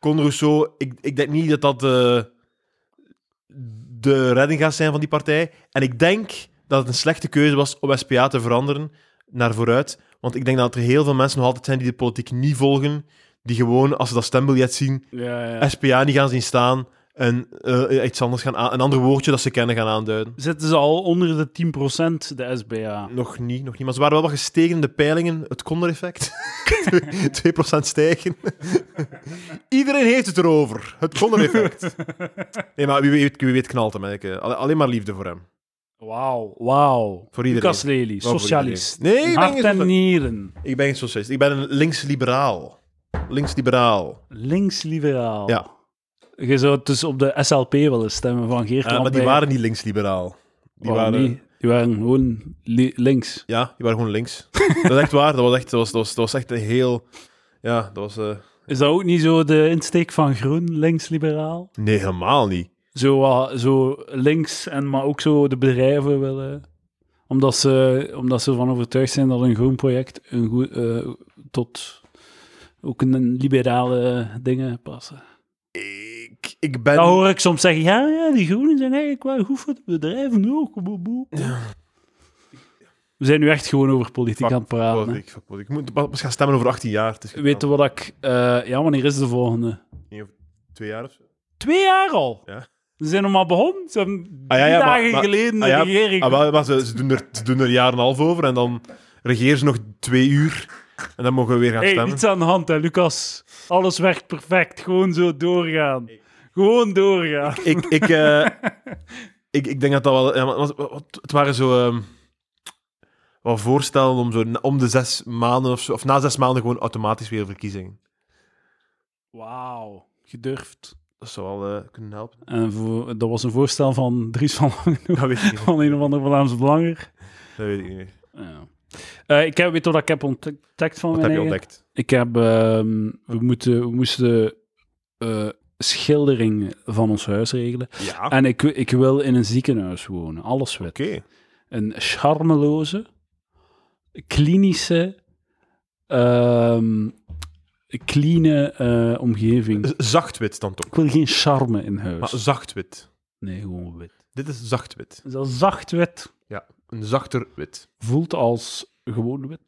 B: Con Rousseau, ik, ik denk niet dat dat eh, de redding gaat zijn van die partij. En ik denk dat het een slechte keuze was om SPA te veranderen naar vooruit. Want ik denk dat er heel veel mensen nog altijd zijn die de politiek niet volgen, die gewoon, als ze dat stembiljet zien,
A: Ja, ja.
B: SPA niet gaan zien staan en eh, iets anders gaan aan- een ander woordje dat ze kennen gaan aanduiden.
A: Zitten ze al onder de 10% de SBA?
B: Nog niet, nog niet. Maar ze waren wel wat gestegen in de peilingen. Het *laughs* Condor-effect. 2% stijgen. Iedereen heeft het erover. Het Condor-effect. Nee, maar wie weet, wie weet knalt hem. hè. Ik, eh, alle- Alleen maar liefde voor hem.
A: Wauw, wauw.
B: Voor iedereen.
A: Lucas Lely,
B: Wel voor
A: socialist.
B: iedereen. Nee, ik ben
A: Hart
B: geen
A: en
B: socialist.
A: nieren.
B: Ik ben geen socialist. Ik ben een links-liberaal. Links-liberaal.
A: Links-liberaal.
B: Ja.
A: Je zou dus op de SLP willen stemmen van Geert
B: Eh, maar die
A: Lambert.
B: waren niet links-liberaal. Die
A: Waarom
B: waren...
A: niet? Die waren gewoon li- links.
B: Ja, die waren gewoon links. dat is echt waar. Dat was echt, dat was, dat was, dat was echt een heel... Ja, dat was... eh,
A: Is dat ook niet zo de insteek van Groen, links-liberaal?
B: Nee, helemaal niet.
A: zo, wat- zo links, en maar ook zo de bedrijven willen. Omdat ze, omdat ze ervan overtuigd zijn dat een groen project een goed, eh, tot ook een liberale dingen passen.
B: Ik, ik ben...
A: Dan hoor ik soms zeggen, ja, ja, die groenen zijn eigenlijk wel goed voor de bedrijven ook. boe, boe. We zijn nu echt gewoon over politiek aan het praten. hè.
B: Politiek, fuck politiek. Ik moet pas gaan stemmen over 18 jaar. Het is
A: Weet je wat ik... eh, ja, wanneer is de volgende?
B: twee jaar of zo. Ah,
A: Twee jaar al?
B: Ja.
A: Ze zijn nog maar begonnen. Ze hebben
B: Ah, ja,
A: drie
B: ja, maar-
A: dagen
B: maar-
A: geleden de
B: ah, ja,
A: regering...
B: Ah, wel, maar ze, ze doen er, ze doen er een jaar en een half over en dan regeer ze nog twee uur. En dan mogen we weer gaan
A: hey,
B: stemmen.
A: niets aan de hand, hè, Lucas. Alles werkt perfect. Gewoon zo doorgaan. Gewoon doorgaan.
B: ik, ik, eh, ik, ik denk dat dat wel... Ja, maar het was- wat- het waren zo... ehm, wat voorstellen om, zo, na- om de zes maanden of zo... Of na zes maanden gewoon automatisch weer verkiezingen.
A: Wauw. Gedurfd.
B: Dat zou wel eh, kunnen helpen.
A: En voor, dat was een voorstel van Dries van Langenhoek,
B: Dat weet ik niet.
A: van een of ander Vlaams Belanger.
B: Dat weet ik niet meer.
A: Ja. Eh, ik heb, weet je wat ik heb ontdekt van
B: Wat
A: mijn
B: heb je
A: eigen?
B: ontdekt?
A: Ik heb... ehm, we, moeten, we moesten eh schildering van ons huis regelen.
B: Ja. Oké.
A: En ik, ik wil in een ziekenhuis wonen. Alles wit. een charmeloze, klinische, ehm clean omgeving.
B: Z- Zachtwit dan toch?
A: Ik wil geen charme in huis.
B: Maar zachtwit.
A: Nee, gewoon wit.
B: Dit is zachtwit.
A: Zo zacht wit
B: Een zachter wit.
A: voelt als gewoon wit.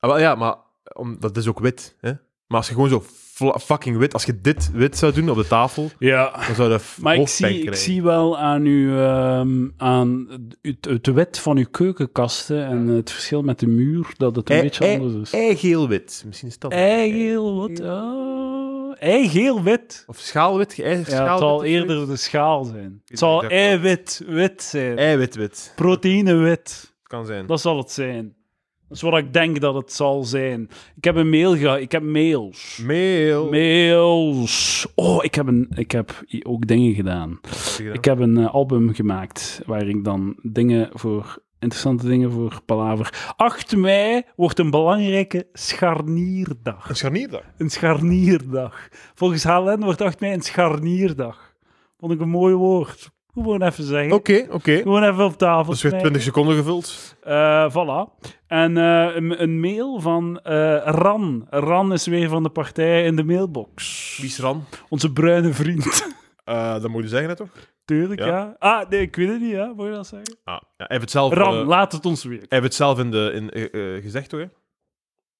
B: Ah, wel, ja, maar om, dat is ook wit. Hè? Maar als je gewoon zo fla- fucking wit... Als je dit wit zou doen op de tafel,
A: Ja.
B: dan zou je f-
A: Maar ik
B: hoofdpijn
A: zie, ik
B: krijgen.
A: zie wel aan, uw, ehm, aan het, het wit van uw keukenkasten en het verschil met de muur dat het een
B: Ei-
A: beetje
B: ei-
A: anders is.
B: Eigeel-wit. Misschien is dat...
A: Eigeel, wat? Eigeel wit.
B: Of schaalwit. Ei,
A: Ja, het
B: schaalwit
A: zal
B: of zoiets.
A: eerder de schaal zijn. Het
B: Ik
A: zal
B: denk dat wel.
A: eiwit, wit zijn.
B: Eiwitwit.
A: Proteïnewit,
B: Kan zijn.
A: dat zal het zijn. Dat is wat ik denk dat het zal zijn. Ik heb een mail gehad, ik heb mails.
B: Mail.
A: Mails. Oh, ik heb, een, ik heb i- ook dingen gedaan. Ik heb een eh, album gemaakt waar ik dan dingen voor, interessante dingen voor palaver. 8 mei wordt een belangrijke scharnierdag.
B: Een scharnier daar.
A: Een scharnierdag. Volgens HLN wordt 8 mei een scharnierdag. Vond ik een mooi woord. Gewoon even zeggen.
B: Oké, oké.
A: Gewoon even op tafel.
B: Dat is weer
A: smijten.
B: 20 seconden gevuld.
A: Eh, voilà. En eh, een, een mail van eh, Ran. Ran is weer van de partij in de mailbox.
B: Wie is Ran?
A: Onze bruine vriend. *laughs*
B: Eh, dat moet je zeggen, hè, toch?
A: Tuurlijk, ja.
B: Ja.
A: Ah, nee, ik weet het niet, hè. Moet je dat zeggen?
B: Ah, ja, hij heeft het zelf...
A: Ran,
B: eh,
A: laat het ons weer.
B: Hij heeft het zelf in de, in, eh, eh, gezegd, hoor.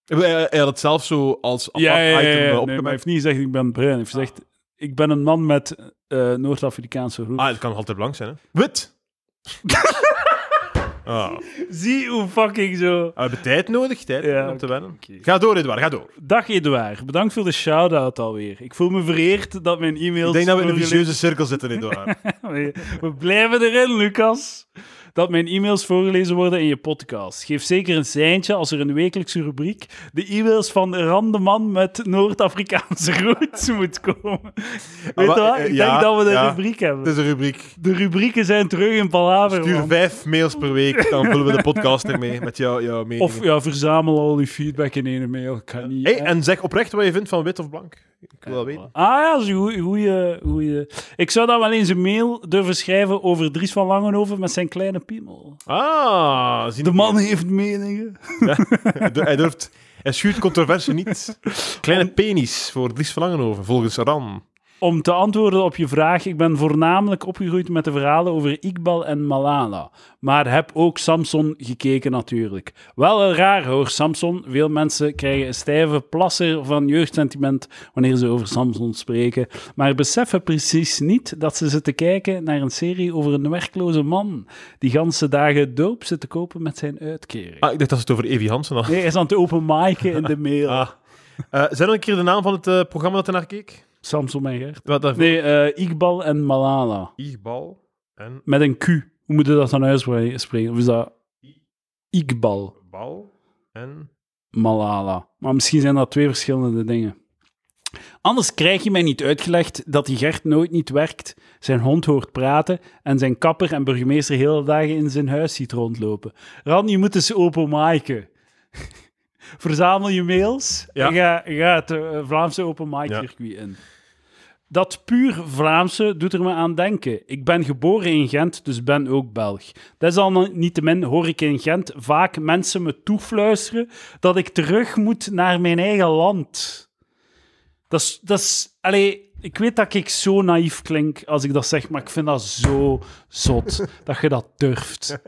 B: Hij, hij had het zelf zo als apart
A: Ja, ja, ja, ja. Nee,
B: item Ah.
A: maar
B: eh,
A: hij
B: opgemerkt.
A: heeft niet gezegd ik ben bruin. Hij heeft gezegd ik ben een man met eh, Noord-Afrikaanse roep.
B: ah, het kan nog altijd blank zijn, hè. Wit! *laughs* ah, we
A: Zie hoe fucking zo...
B: hebben tijd nodig, tijd
A: Ja,
B: om te wennen.
A: oké.
B: Ga door, Edouard, ga door.
A: Dag Edouard, bedankt voor de shout-out alweer. Ik voel me vereerd dat mijn e-mails...
B: Ik denk dat we in een
A: voorgelezen-
B: vicieuze cirkel
A: *laughs*
B: zitten, Edouard.
A: We- We blijven erin, Lucas. Dat mijn e-mails voorgelezen worden in je podcast. Geef zeker een seintje als er een wekelijkse rubriek de e-mails van Randeman met Noord-Afrikaanse *laughs* roots moet komen. Weet je
B: maar,
A: wat?
B: eh,
A: Ik denk
B: ja,
A: dat we de
B: ja.
A: rubriek
B: Het
A: hebben.
B: is een rubriek.
A: De rubrieken zijn terug in Palaver.
B: Stuur
A: man.
B: vijf mails per week, dan vullen we de podcast ermee met jou, jouw mening.
A: Of ja, verzamel al die feedback in één mail. Ik kan niet. eh,
B: hey, en zeg oprecht wat je vindt van wit of blank. Ik wil dat weten.
A: Ah ja, dat is een goeie- goeie- goeie. Ik zou dan wel eens een mail durven schrijven over Dries van Langenhoven met zijn kleine piemel.
B: Ah, zien
A: De man heeft meningen.
B: Hij durft... Hij schuurt controverse niet. Kleine penis voor Dries van Langenhoven, volgens Ran.
A: Om te antwoorden op je vraag, ik ben voornamelijk opgegroeid met de verhalen over Iqbal en Malala. Maar heb ook Samson gekeken natuurlijk. Wel een raar hoor, Samson. Veel mensen krijgen een stijve plasser van jeugdsentiment wanneer ze over Samson spreken. Maar beseffen precies niet dat ze zitten kijken naar een serie over een werkloze man. Die ganse dagen doop zit te kopen met zijn uitkering.
B: Ah, ik dacht dat ze het over Evi Hansen had.
A: Nee, hij is aan het open micen in de mail.
B: *laughs* Ah. Eh, zei nog een keer de naam van het eh, programma dat hij naar keek?
A: Samson en Gert.
B: Wat daarvoor?
A: Nee, eh Iqbal en Malala.
B: Igbal en
A: Met een Q. Hoe moet je dat dan uitspreken? Of is dat Iqbal
B: Bal en...
A: Malala? Maar misschien zijn dat twee verschillende dingen. Anders krijg je mij niet uitgelegd dat die Gert nooit niet werkt, zijn hond hoort praten en zijn kapper en burgemeester hele dagen in zijn huis ziet rondlopen. Ran, je moet eens openmaken. *laughs* Verzamel je mails
B: Ja.
A: en ga, ga het eh, Vlaamse open mic
B: Ja.
A: circuit in. Dat puur Vlaamse doet er me aan denken. Ik ben geboren in Gent, dus ben ook Belg. Desalniettemin hoor ik in Gent vaak mensen me toefluisteren dat ik terug moet naar mijn eigen land. Dat is... Dat is allee, ik weet dat ik zo
B: *laughs*
A: naïef klink als ik dat zeg, maar ik vind dat zo zot dat je dat durft.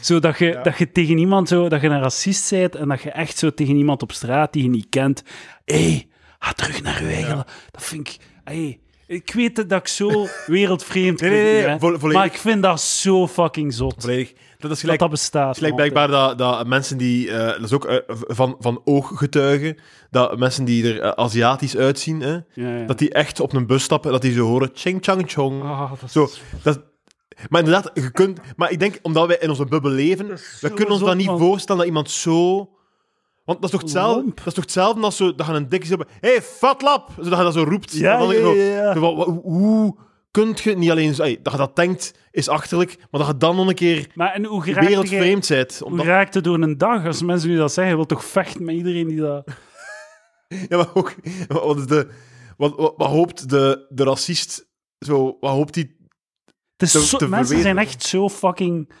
A: Zo dat je, dat je tegen iemand zo, dat je een racist bent en dat je echt zo tegen iemand op straat die je niet kent, hé, hey, ga terug naar je eigen. la- Dat vind ik, hey, ik weet dat ik zo wereldvreemd
B: Nee, nee, nee,
A: klink, hè,
B: vo- volledig.
A: maar ik vind dat zo fucking zot.
B: Volledig. Dat is
A: Dat
B: gelijk,
A: dat bestaat.
B: gelijk
A: man.
B: blijkbaar dat, dat mensen die... eh, dat is ook eh, van, van ooggetuigen. Dat mensen die er eh, Aziatisch uitzien, hè,
A: Ja, ja.
B: dat die echt op een bus stappen en dat die zo horen... Ching, chang, chong.
A: Ah, dat is
B: Zo, dat, maar inderdaad, je kunt, maar ik denk, omdat wij in onze bubbel leven, we kunnen ons
A: zot,
B: dat niet
A: man.
B: voorstellen dat iemand zo... Want dat is toch hetzelfde,
A: Lomp.
B: dat is toch hetzelfde als zo, dat je een dikke zin hebt... Hé, hey, fatlap! Zo, Dat je dat zo roept.
A: Ja,
B: Dan denk ik
A: ja,
B: zo,
A: ja, ja.
B: zo van, wa- hoe kunt je niet alleen... zo- ey, dat je dat denkt, is achterlijk, maar dat je dan nog een keer
A: Maar en hoe geraakt je,
B: wereldvreemd bent.
A: hoe
B: Omdat,
A: raakt het door een dag? Als mensen nu dat zeggen, je wilt toch vechten met iedereen die dat...
B: *laughs* ja, maar ook... Wat, is de, wat, wat, wat hoopt de, de racist... Zo, wat hoopt die...
A: Het is
B: te-
A: zo-
B: te
A: mensen
B: verwezen.
A: zijn echt zo fucking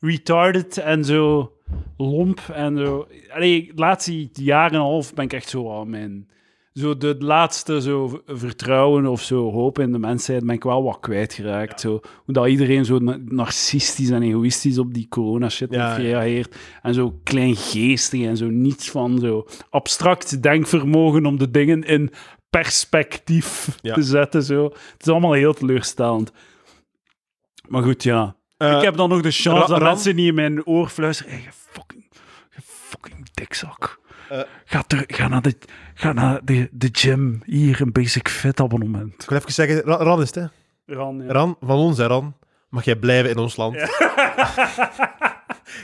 A: retarded en zo lomp en zo. Allee, de laatste jaar en een half ben ik echt zo aan mijn... Zo de laatste zo v- vertrouwen of zo, hoop in de mensheid, ben ik wel wat kwijtgeraakt. Zo. Hoe dat iedereen zo na- narcistisch en egoïstisch op die corona-shit
B: Ja,
A: heeft
B: ja.
A: gereageerd. En zo kleingeestig en zo niets van zo abstract denkvermogen om de dingen in perspectief
B: Ja.
A: te zetten. Zo. Het is allemaal heel teleurstellend. Maar goed, ja.
B: eh,
A: ik heb dan nog de chance
B: Ra-
A: dat
B: Ram?
A: mensen niet in mijn oor fluisteren. Hey, je fucking, je fucking dikzak.
B: Eh.
A: ga, ter- ga naar, de, ga naar de, de gym. Hier een basic fit abonnement.
B: Ik wil even zeggen, Ra- Ran is het, hè?
A: Ran, ja.
B: Ran, van ons, hè, Ran. Mag jij blijven in ons land.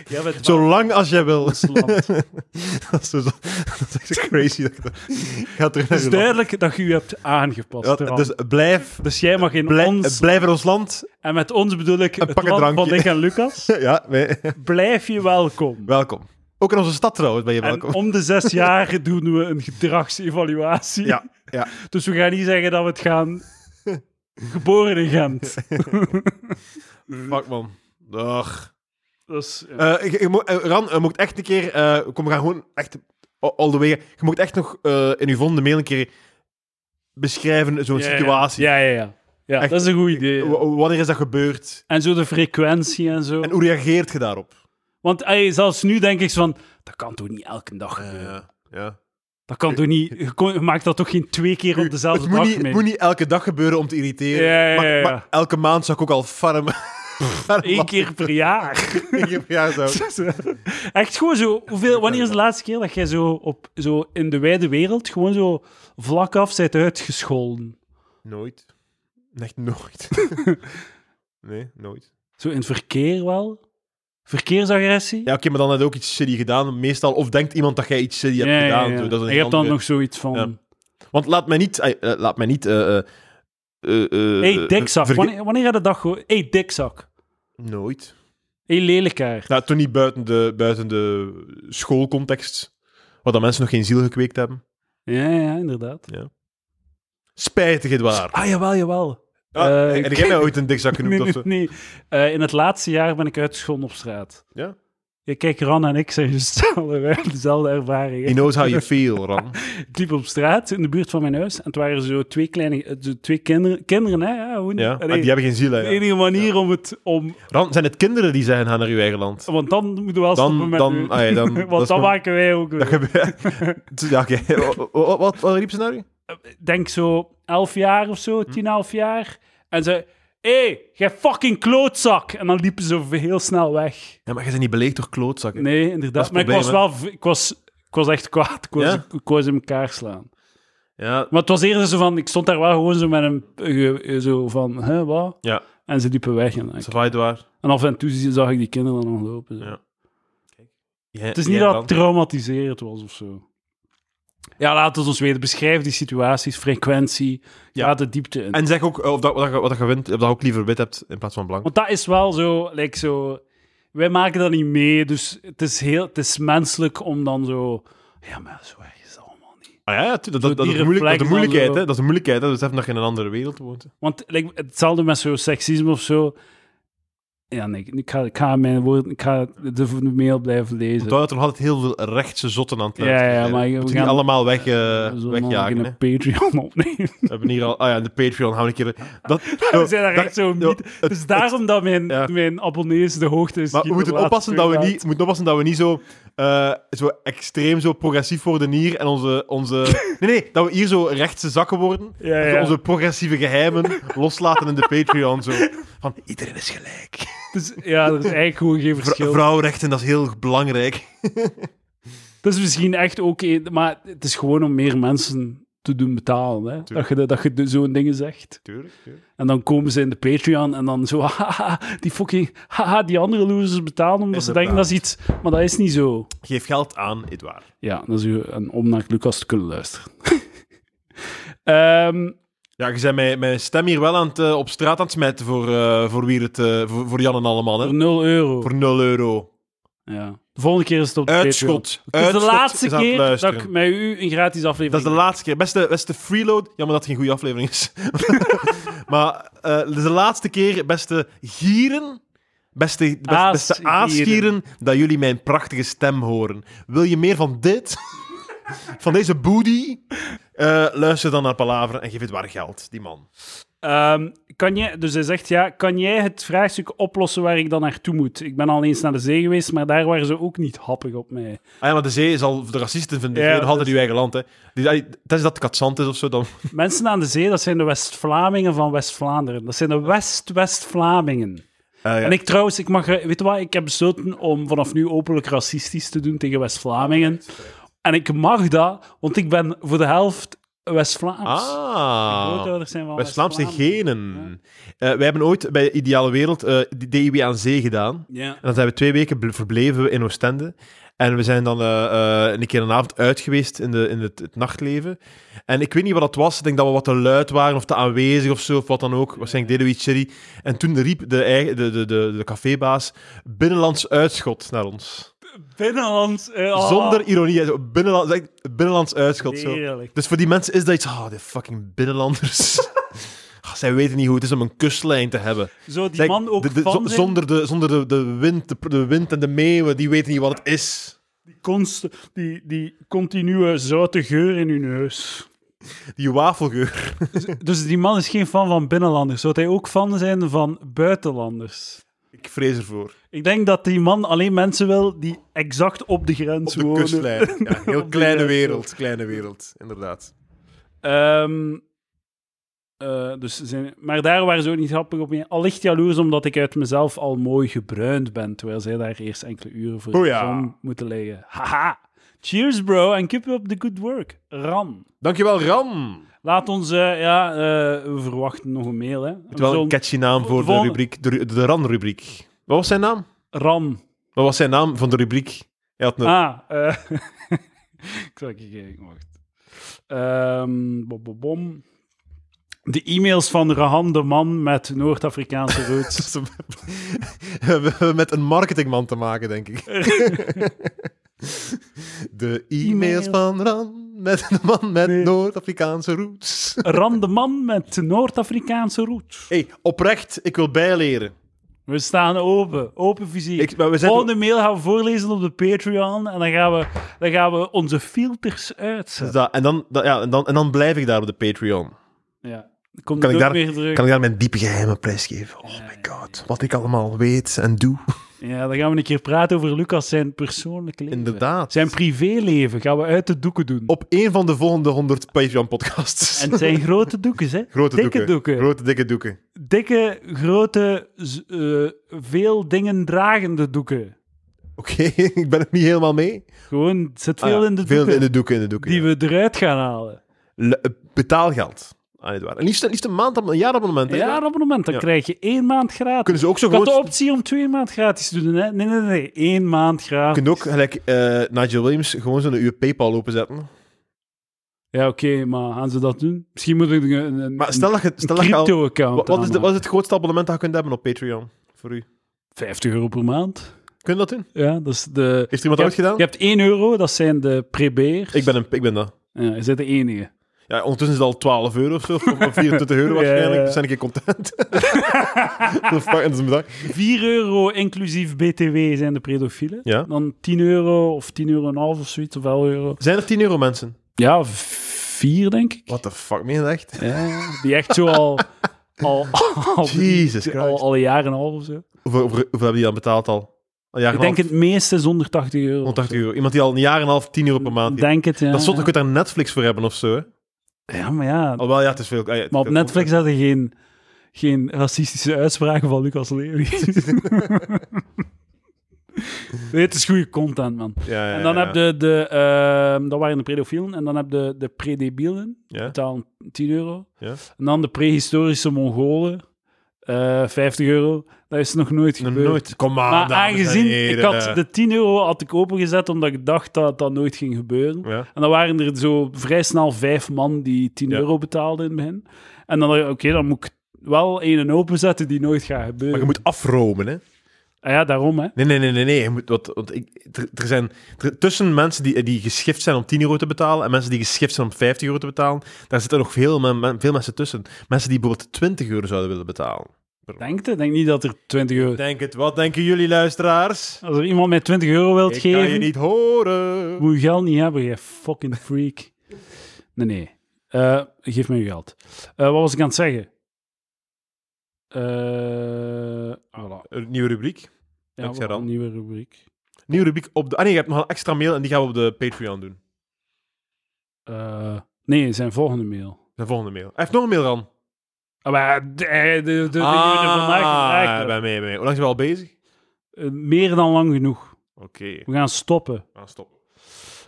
A: Jij bent
B: Zolang als jij wil. *laughs*
A: van ons land.
B: dat, is zo, dat is echt zo crazy. Dat ik dat- ik ga terug naar
A: Het is
B: je land.
A: duidelijk dat je je hebt aangepast.
B: Ja,
A: Ran.
B: dus blijf,
A: Dus jij mag in
B: blij-
A: ons...
B: blijf in ons land. *laughs*
A: En met ons bedoel ik het
B: pak een
A: land van
B: drankje.
A: Dick en
B: *laughs*
A: Lucas.
B: Ja, wij-
A: Blijf je welkom.
B: welkom. Ook in onze stad trouwens ben je
A: En
B: welkom.
A: om de
B: *laughs*
A: zes jaar doen we een gedragsevaluatie.
B: Ja, ja.
A: Dus we gaan niet zeggen dat we het
B: *laughs*
A: gaan... Geboren in Gent.
B: Fuck man. Dag.
A: Dus, ja.
B: Eh, je- je moet- eh, Ran, je moet echt een keer... eh, kom, we gaan gewoon echt all the way. Je moet echt nog eh, in uw volgende mail een keer beschrijven zo'n
A: Ja, ja,
B: situatie.
A: Ja, ja, ja. ja
B: Echt.
A: dat is een goed idee. ja.
B: W- Wanneer is dat gebeurd?
A: En zo de frequentie en zo.
B: En hoe reageert je daarop?
A: Want ey, zelfs nu denk ik zo van, dat kan toch niet elke dag gebeuren?
B: Ja, ja.
A: Dat kan toch niet... Je, kon- je maakt dat toch geen twee keer op dezelfde
B: het moet
A: dag
B: niet,
A: mee?
B: Het moet niet elke dag gebeuren om te irriteren.
A: Ja, ja,
B: maar,
A: ja, ja.
B: maar elke maand zou ik ook al farm.
A: Eén keer per
B: *laughs*
A: jaar.
B: Ja,
A: *laughs*
B: zo.
A: Echt gewoon zo... Hoeveel, wanneer is de laatste keer dat jij zo, op, zo in de wijde wereld gewoon zo vlak af bent uitgescholden?
B: Nooit.
A: *laughs*
B: Echt nooit. nee, nooit.
A: Zo in het verkeer wel? Verkeersagressie?
B: Ja, oké, maar dan had je ook iets shitty gedaan. Meestal, of denkt iemand dat jij iets shitty hebt
A: Ja, ja,
B: gedaan.
A: ja.
B: Zo, dat is een
A: en je hebt dan
B: andere-
A: nog zoiets van...
B: Ja. Want laat mij niet... eh, eh, laat mij niet... eh, eh, eh, eh,
A: hey,
B: eh,
A: dikzak.
B: verge-
A: Wanneer, wanneer had je dat gehoord? hey, dikzak.
B: Nooit.
A: hey, lelijkaard.
B: Nou, toen niet buiten de, buiten de schoolcontext. Waar dan mensen nog geen ziel gekweekt hebben.
A: Ja, ja, inderdaad.
B: Spijtig, het waar.
A: Ah, jawel, jawel.
B: Ah,
A: Eh,
B: en jij mij ooit een dikzak
A: Nee,
B: genoemd? of
A: nee,
B: zo?
A: nee. Eh, in het laatste jaar ben ik uitgescholden op straat.
B: Ja?
A: Je kijkt Ran en ik *laughs* zijn hetzelfde. We hebben dezelfde ervaring. hè.
B: He knows
A: *laughs*
B: how you feel, Ram.
A: Ik liep op straat in de buurt van mijn huis en het waren zo twee kleine eh, zo twee kinderen. Kinderen, hè? Ja, hoe niet?
B: Ja,
A: Allee,
B: maar die hebben geen ziel, hè.
A: de
B: ja.
A: enige manier om het om.
B: Ram, zijn het kinderen die zeggen, ga naar uw eigen
A: *laughs*
B: land?
A: Want dan moeten we wel
B: Dan-
A: stoppen met.
B: dan-
A: u.
B: ah ja, dan-
A: *laughs*
B: dat
A: Want
B: is
A: dan
B: gewoon-
A: maken wij ook.
B: Dat gebeurt. ja, oké.
A: *laughs*
B: Wat, wat, wat, wat riep ze nou? naar u?
A: denk zo elf jaar of
B: Hm?
A: zo, tien, elf jaar. En ze. Hé, hey, jij fucking klootzak! En dan liepen ze heel snel weg.
B: Ja, maar jij bent niet beleefd door klootzakken.
A: Nee, inderdaad.
B: het
A: Maar ik was
B: probleem,
A: wel... v- Ik was, ik was echt kwaad. Ik was,
B: Ja?
A: ik was in elkaar slaan.
B: Ja,
A: Maar het was eerder zo van... Ik stond daar wel gewoon zo met een... eh, eh, Zo van... Hè, wat?
B: ja.
A: En ze liepen weg. En, ik-
B: Savai waar.
A: en af en toe zag ik die kinderen dan nog lopen. zo.
B: Ja.
A: Het is niet dat het traumatiserend was of zo. Ja, laten we ons weten. Beschrijf die situaties, frequentie.
B: Ja.
A: Ga de diepte in.
B: En zeg ook eh, of dat, wat, je- wat je wint, of dat je ook liever wit hebt in plaats van blank.
A: Want dat is wel zo, like zo... Wij maken dat niet mee, dus het is, heel, het is menselijk om dan zo... Ja, maar zo erg is dat allemaal niet.
B: Ah ja, ja, tu- dat, dat, dat, is
A: die
B: moeilijk, dat is de
A: reflex
B: moeilijkheid,
A: dan
B: hè.
A: zo.
B: Dat is de moeilijkheid, hè. Dat is even dat je in een andere wereld woont.
A: Want like, hetzelfde met zo seksisme of zo. Ja, nee, ik ga, ik ga mijn woorden, ik ga de mail blijven lezen.
B: Onthoud, er nog altijd heel veel rechtse zotten aan het
A: Ja,
B: luisteren
A: ja,
B: zijn.
A: maar we
B: Moeten
A: gaan-
B: niet allemaal weg, eh,
A: We zullen nog
B: wegjagen.
A: een
B: hè.
A: Patreon
B: *laughs*
A: opnemen.
B: We hebben hier al... Ah ja, in de Patreon gaan we een
A: *laughs*
B: keer... Dat,
A: We zijn daar echt Dus zo
B: dat-
A: niet. Het is daarom dat mijn,
B: ja.
A: mijn abonnees de hoogte is.
B: Maar we
A: die
B: moeten
A: de laatste
B: oppassen dat we,
A: twee
B: niet, we moeten oppassen dat we niet zo, eh, zo extreem zo progressief worden hier. En onze, onze... Nee, nee, dat we hier zo rechtse zakken worden.
A: Ja,
B: Dat we
A: ja.
B: onze progressieve geheimen loslaten in de Patreon. Zo. Van, iedereen is gelijk.
A: maanden. Dus, ja, er is eigenlijk gewoon
B: *laughs*
A: geen
B: Vr-
A: verschil.
B: vrouwenrechten, dat is heel belangrijk.
A: Dat is misschien echt ook... een- Maar het is gewoon om meer mensen te doen betalen. Hè? Dat je, de- dat je de- zo'n dingen zegt.
B: Tuurlijk,
A: En dan komen ze in de Patreon en dan zo... *laughs* Haha, die fucking... Haha, die andere losers betalen omdat ze denken
B: Inderdaad.
A: dat is iets... Maar dat is niet zo.
B: Geef geld aan, Edouard.
A: Ja, dat is u- een, om naar Lucas te kunnen luisteren. *laughs* Ehm,
B: Ja, je bent mijn, mijn stem hier wel aan het, eh, op straat aan het smijten voor, eh, voor, wie het, eh, voor, voor Jan en allemaal. Hè?
A: voor 0 euro.
B: Voor 0 euro.
A: Ja. De volgende keer is het op de Patreon.
B: Uitschot.
A: Het is de
B: Uitschot
A: laatste
B: is aan het
A: keer dat
B: luisteren.
A: ik met u een gratis aflevering
B: Dat is de laatste keer. Beste, beste freeload. Jammer dat het geen goede aflevering is. *laughs* maar eh dat is de laatste keer, beste gieren. Beste, best-
A: Aas-
B: beste aasgieren, dat jullie mijn prachtige stem horen. Wil je meer van dit? van deze booty? Eh, luister dan naar Palaver en geef het waar geld, die man.
A: Ehm, kan jij, dus hij zegt, ja, kan jij het vraagstuk oplossen waar ik dan naartoe moet? Ik ben al eens naar de zee geweest, maar daar waren ze ook niet happig op mij.
B: Ah ja, maar de zee zal de racisten vinden.
A: Ja,
B: Ja, nog altijd
A: dus-
B: uw eigen land, hè. Die- die- Tenzij dat het katzand is of zo, dan...
A: Mensen aan de zee, dat zijn de West-Vlamingen van West-Vlaanderen. Dat zijn de West-West-Vlamingen.
B: Ah,
A: En ik trouwens, ik mag, weet je wat, ik heb besloten om vanaf nu openlijk racistisch te doen tegen West-Vlamingen. En ik mag dat, want ik ben voor de helft West-Vlaams.
B: Ah.
A: Grootouders zijn van
B: West-Vlaamse
A: West-Vlaanderen.
B: genen. Eh, wij hebben ooit bij Ideale Wereld eh de DIW aan zee gedaan.
A: Ja.
B: En dat hebben we twee weken bl- verbleven we in Oostende. En we zijn dan eh, eh, een keer een avond uit geweest in, de, in het, het nachtleven. En ik weet niet wat dat was. Ik denk dat we wat te luid waren of te aanwezig of zo, of wat dan ook. Waarschijnlijk deden we iets shitty. En toen riep de, eigen- de, de, de, de cafébaas binnenlands uitschot naar ons.
A: Binnenlands. eh, ah,
B: Zonder ironie. hè. Zo, Binnenlands, echt binnenlands uitschot. Zo.
A: heerlijk.
B: Dus voor die mensen is dat iets... Ah, die fucking binnenlanders.
A: *laughs*
B: Ah, Zij weten niet hoe het is om een kustlijn te hebben.
A: Zo die
B: Zij-
A: man ook
B: de- de-
A: van
B: zo-
A: zijn-
B: zonder de, zonder de, de, wind, de, de wind en de meeuwen, die weten niet wat het is.
A: const, die, die continue zoute geur in uw neus.
B: Die wafelgeur.
A: Dus die man is geen fan van binnenlanders. Zou hij ook fan zijn van buitenlanders?
B: Ik vrees ervoor.
A: Ik denk dat die man alleen mensen wil die exact op de
B: Op
A: grens
B: de
A: wonen.
B: kustlijn.
A: *laughs*
B: Ja,
A: Op
B: heel
A: de
B: kleine
A: grens.
B: wereld. Kleine wereld, inderdaad.
A: Ehm, eh, dus ze zijn, maar daar waren ze ook niet grappig op. mee. Allicht jaloers omdat ik uit mezelf al mooi gebruind ben, terwijl zij daar eerst enkele uren voor in de
B: Boeia.
A: zon moeten liggen. Haha! Cheers bro en keep up the good work. Ran.
B: Dankjewel, Ram.
A: Laat ons, eh, ja, eh, we verwachten nog een mail, hè.
B: Het wel een
A: Zo'n
B: catchy naam voor de,
A: Volgende.
B: rubriek, de, ru- de Ran-rubriek. Wat was zijn naam?
A: Ran.
B: Wat was zijn naam van de rubriek? Hij had een... *laughs*
A: Ah, eh, *laughs* ik zal even kijken, wacht. Ehm, bom, bom, bom. De e-mails van Rahan de man met Noord-Afrikaanse
B: *laughs*
A: roots.
B: Ze Dus hebben met een marketingman te maken,
A: *laughs*
B: denk ik. De e-mails van Ran met een man met
A: Nee.
B: Noord-Afrikaanse roots.
A: Ran de man met Noord-Afrikaanse roots.
B: hey, oprecht, ik wil bijleren.
A: We staan open, open vizier.
B: Ik, maar we zijn
A: Volgende mail gaan we voorlezen op de Patreon en dan gaan we, dan gaan we onze filters
B: Dus
A: uitzetten.
B: dat- en, dan, dat- ja, en, dan, en dan blijf ik daar op de Patreon.
A: Ja. Komt
B: Kan
A: er
B: ik,
A: ook
B: daar,
A: meer druk.
B: kan ik daar mijn diepe geheimen prijsgeven? Oh my god, wat ik allemaal weet en doe.
A: Ja, dan gaan we een keer praten over Lucas zijn persoonlijk leven.
B: Inderdaad.
A: Zijn privéleven gaan we uit de doeken doen.
B: Op een van de volgende 100 Patreon-podcasts.
A: En het zijn grote doekjes, hè?
B: *laughs* Grote
A: Dikke
B: doeken.
A: doeken.
B: Grote, dikke doeken.
A: Dikke, grote, z- eh, veel dingen dragende doeken.
B: Oké, *laughs* ik ben er niet helemaal mee.
A: Gewoon, het zit
B: Ah
A: veel
B: ja,
A: in de
B: veel
A: doeken
B: in de doeken. In de doeken
A: die
B: ja.
A: we eruit gaan halen.
B: Le- eh, betaalgeld aan Edouard. En liefst, liefst een maand, een jaarabonnement. hè,
A: Ja,
B: Edouard?
A: op een moment, dan
B: Ja.
A: krijg je één maand gratis.
B: Kunnen ze ook zo
A: Ik had
B: groot...
A: de optie om twee maand gratis te doen, hè? Nee, nee, nee, één maand gratis.
B: Kunnen ook, gelijk eh, Nigel Williams, gewoon zo'n uur Paypal openzetten.
A: Ja, oké, maar gaan ze dat doen? Misschien moet ik een, een, een
B: Maar stel dat je, stel dat je al...
A: crypto-account
B: Wat, wat is de-
A: aanmaken.
B: wat is het grootste abonnement dat je kunt hebben op Patreon? Voor u.
A: 50 euro per maand.
B: Kun je dat doen?
A: Ja, dat is de...
B: Heeft er iemand dat ooit gedaan?
A: Je hebt 1 euro, dat zijn de prebeers.
B: Ik ben, een, ik ben dat.
A: Ja, je bent de enige.
B: Ja, ondertussen is het al 12 euro of zo, of 24 euro
A: *laughs*
B: waarschijnlijk.
A: Ja, ja.
B: Dus ben ik content. *laughs* dat fuck, dat is een bedrag.
A: 4 euro inclusief BTW zijn de pedofielen.
B: Ja.
A: Dan 10 euro of 10 euro en een half of zoiets, of 11 euro.
B: Zijn er 10 euro mensen?
A: Ja, 4 denk ik.
B: What the fuck, meen je dat echt?
A: Ja, die echt zo al... al, al
B: Jesus
A: al,
B: Christ.
A: al een jaar en een half of zo.
B: Hoeveel, hoeveel, hoeveel hebben die dan betaald al? Een jaar en
A: Ik
B: een
A: denk
B: half,
A: het meeste is onder 80 euro.
B: 180 euro. Iemand die al een jaar en een half 10 euro per maand heeft.
A: Denk het, ja.
B: Oh, Dat is zot, je
A: ja.
B: kunt daar Netflix voor hebben of zo. Hè?
A: Ja, maar ja.
B: Alhoewel, ja, het is veel. ah, ja,
A: Maar op
B: het-
A: Netflix hadden geen, geen racistische uitspraken van Lucas Lely.
B: *laughs*
A: nee, het is goede content, man.
B: Ja, ja,
A: En dan
B: ja,
A: heb je de... ehm dat waren de pedofielen. En dan heb je de predebielen.
B: Ja.
A: Betalen 10 euro.
B: Ja.
A: En dan de prehistorische Mongolen. eh 50 euro. Dat is nog nooit
B: Nog
A: gebeurd.
B: nooit. Kom aan,
A: Maar
B: dames en
A: aangezien ik
B: heren. eh.
A: had de 10 euro had ik opengezet omdat ik dacht dat dat nooit ging gebeuren.
B: Ja.
A: En dan waren er zo vrij snel vijf man die 10
B: Ja.
A: euro betaalden in het begin. En dan dacht ik, oké, dan moet ik wel één openzetten die nooit gaat
B: Maar
A: gebeuren.
B: je moet afromen, hè?
A: Ah ja, daarom hè.
B: Nee, nee, nee, nee. nee. Je moet, wat, want ik, er, er zijn er- tussen mensen die, die geschift zijn om 10 euro te betalen en mensen die geschift zijn om 50 euro te betalen, daar zitten nog veel, men- men- veel mensen tussen. Mensen die bijvoorbeeld 20 euro zouden willen betalen.
A: Denk het? Denk niet dat er 20 euro...
B: Denk het, wat denken jullie luisteraars?
A: Als er iemand mij 20 euro wilt
B: Ik kan je
A: geven,
B: niet horen.
A: moet je geld niet hebben, je fucking freak. nee, nee. Eh, geef me je geld. Eh, wat was ik aan het zeggen? Eh voilà.
B: Een nieuwe rubriek.
A: Ja,
B: Dankzij
A: we gaan een
B: Ran.
A: nieuwe rubriek.
B: Nieuwe rubriek op de... Ah nee, je hebt nog een extra mail en die gaan we op de Patreon doen.
A: Eh, nee, zijn volgende mail.
B: De volgende mail. Hij heeft nog een mail, Ran.
A: Ah, Maar de, de, de, de, die we er vandaag gevraagd
B: ja,
A: hebben.
B: ben mee, ben mee. Hoe lang zijn we al bezig?
A: Eh, meer dan lang genoeg.
B: Oké, Ah,
A: We gaan stoppen.
B: we gaan stoppen.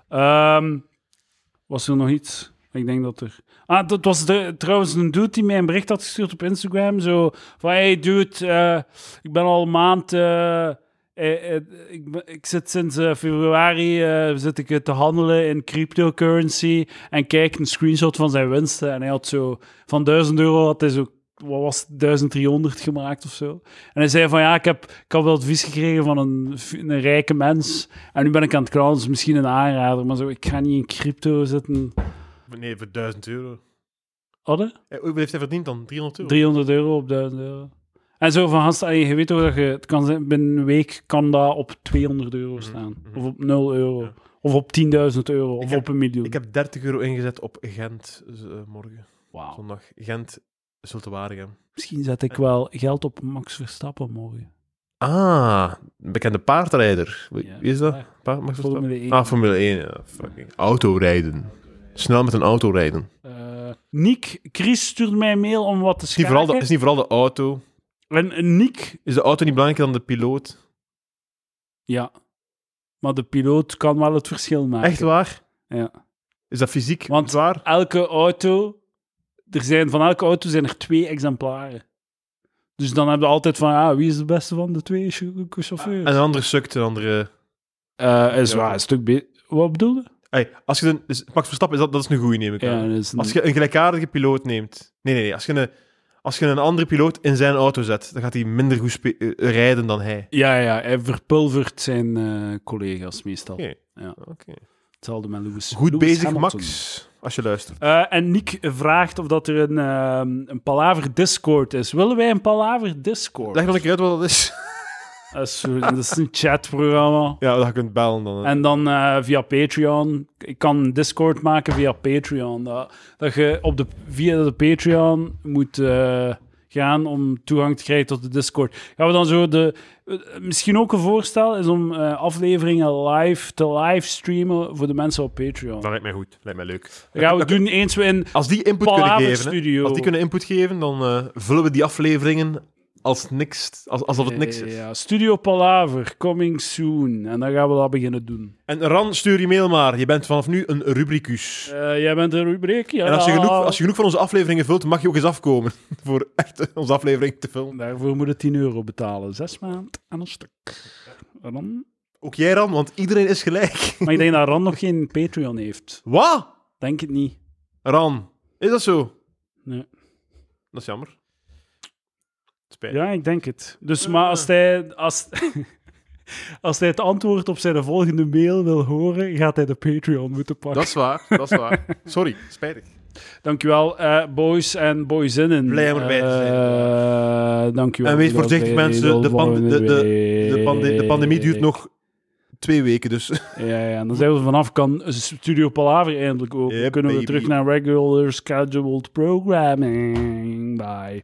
A: Ehm, was er nog iets? Ik denk dat er... Ah, dat was de, trouwens een dude die mij een bericht had gestuurd op Instagram. Zo van, hey dude, eh, ik ben al een maand... eh, eh, eh, ik, ben- ik zit sinds eh, februari eh, zit ik eh, te handelen in cryptocurrency. En kijk, een screenshot van zijn winsten. En hij had zo... Van 1000 euro had hij zo... Wat was het, 1300 gemaakt of zo. En hij zei van ja, ik heb, ik had wel advies gekregen van een, v- een rijke mens. En nu ben ik aan het knallen, dus misschien een aanrader. Maar zo, ik ga niet in crypto zitten.
B: Nee, voor 1000 euro.
A: Hadden?
B: Eh, Hoeveel heeft hij verdiend dan? 300 euro?
A: 300 euro op 1000 euro. En zo van gast, allee, je weet toch dat je, het kan zijn, binnen een week kan dat op 200 euro staan.
B: mhm.
A: Of op 0 euro.
B: Ja.
A: Of op 10.000 euro.
B: Ik
A: Of
B: heb-
A: op een miljoen.
B: Ik heb 30 euro ingezet op Gent z- eh, morgen,
A: Wauw.
B: zondag. Gent te Waregem.
A: Misschien zet ik wel geld op Max Verstappen morgen.
B: Ah, een bekende paardrijder. Wie
A: Ja.
B: wie is dat?
A: Ja.
B: Paard, mag ik dat
A: Formule
B: spellen?
A: 1.
B: Ah, Formule 1. Ja, fucking. Autorijden. Snel met een auto rijden.
A: Eh, Nick, Chris stuurde mij een mail om wat te
B: Is niet,
A: schrijven.
B: vooral de, is niet vooral de auto.
A: En eh, Nick
B: Is de auto niet belangrijker dan de piloot?
A: Ja. Maar de piloot kan wel het verschil maken.
B: Echt waar?
A: Ah, Ja.
B: Is dat fysiek
A: Want-
B: zwaar?
A: Elke auto... Er zijn, van elke auto zijn er twee exemplaren. Dus dan heb je altijd van... Ah, wie is de beste van de twee cho- chauffeurs?
B: Ah, En een andere sukt, een andere...
A: Eh, is waar, een stuk beter. Wat bedoel je?
B: Hey, als je een, dus Max Verstappen, is dat, dat is een goeie, neem ik aan.
A: Ja, dat is een-
B: Als je een gelijkaardige piloot neemt. Nee, nee, nee. Als je een, als je een andere piloot in zijn auto zet, dan gaat hij minder goed spe- eh, rijden dan hij.
A: ja, ja, hij verpulvert zijn eh, collega's meestal.
B: Oké.
A: Ja.
B: Oké.
A: Hetzelfde met Lewis.
B: Goed
A: Lewis
B: bezig,
A: Hamilton.
B: Max. Als je luistert.
A: Eh, en Nick vraagt of dat er een, ehm, een palaver Discord is. Willen wij een palaver Discord?
B: Leg nog een keer uit wat dat is. *laughs*
A: Dat is zo- dat is een chatprogramma.
B: Ja, dat je kunt bellen dan. hè.
A: En dan eh, via Patreon. Ik kan een Discord maken via Patreon. Dat, dat je op de, via de Patreon moet eh, gaan om toegang te krijgen tot de Discord. Gaan we dan zo de... eh, misschien ook een voorstel is om eh, afleveringen live te livestreamen voor de mensen op Patreon.
B: Dat lijkt mij goed. Lijkt mij leuk.
A: Dat gaan we doen eens we in...
B: Als die input kunnen
A: Palaver
B: geven, hè,
A: Studio.
B: als die kunnen input geven, dan eh, vullen we die afleveringen als niks, als, alsof het niks is.
A: Eh, Ja, Studio Palaver, coming soon. En dan gaan we dat beginnen doen.
B: En Ran, stuur je mail maar. Je bent vanaf nu een rubricus.
A: Eh, jij bent een rubriek? Ja.
B: En als je, genoeg,
A: Ah.
B: als je genoeg van onze afleveringen vult, mag je ook eens afkomen *laughs* voor echt onze aflevering te filmen.
A: Daarvoor moet je 10 euro betalen. Zes maand en een stuk. En dan...
B: Ook jij, Ran, want iedereen is gelijk. *laughs*
A: Maar ik denk dat Ran nog geen Patreon heeft.
B: Wat?
A: Denk het niet.
B: Ran, is dat zo?
A: Nee.
B: Dat is jammer. Spijt.
A: Ja, ik denk het. Dus, maar als hij, als, *laughs* als hij het antwoord op zijn volgende mail wil horen, gaat hij de Patreon moeten pakken. *laughs*
B: Dat is waar, dat is waar. Sorry, spijtig.
A: Dankjewel, eh, boys en boyzinnen.
B: Blij om erbij te zijn.
A: Eh, dankjewel.
B: En wees
A: Tot
B: voorzichtig,
A: bij
B: mensen. De, pan- de,
A: volgende
B: de, de, pande- de pandemie duurt
A: week.
B: nog twee weken, dus
A: Ja, ja, en dan zijn we vanaf kan Studio Palaver eindelijk open.
B: Yep,
A: Kunnen we
B: baby.
A: terug naar regular scheduled programming. Bye.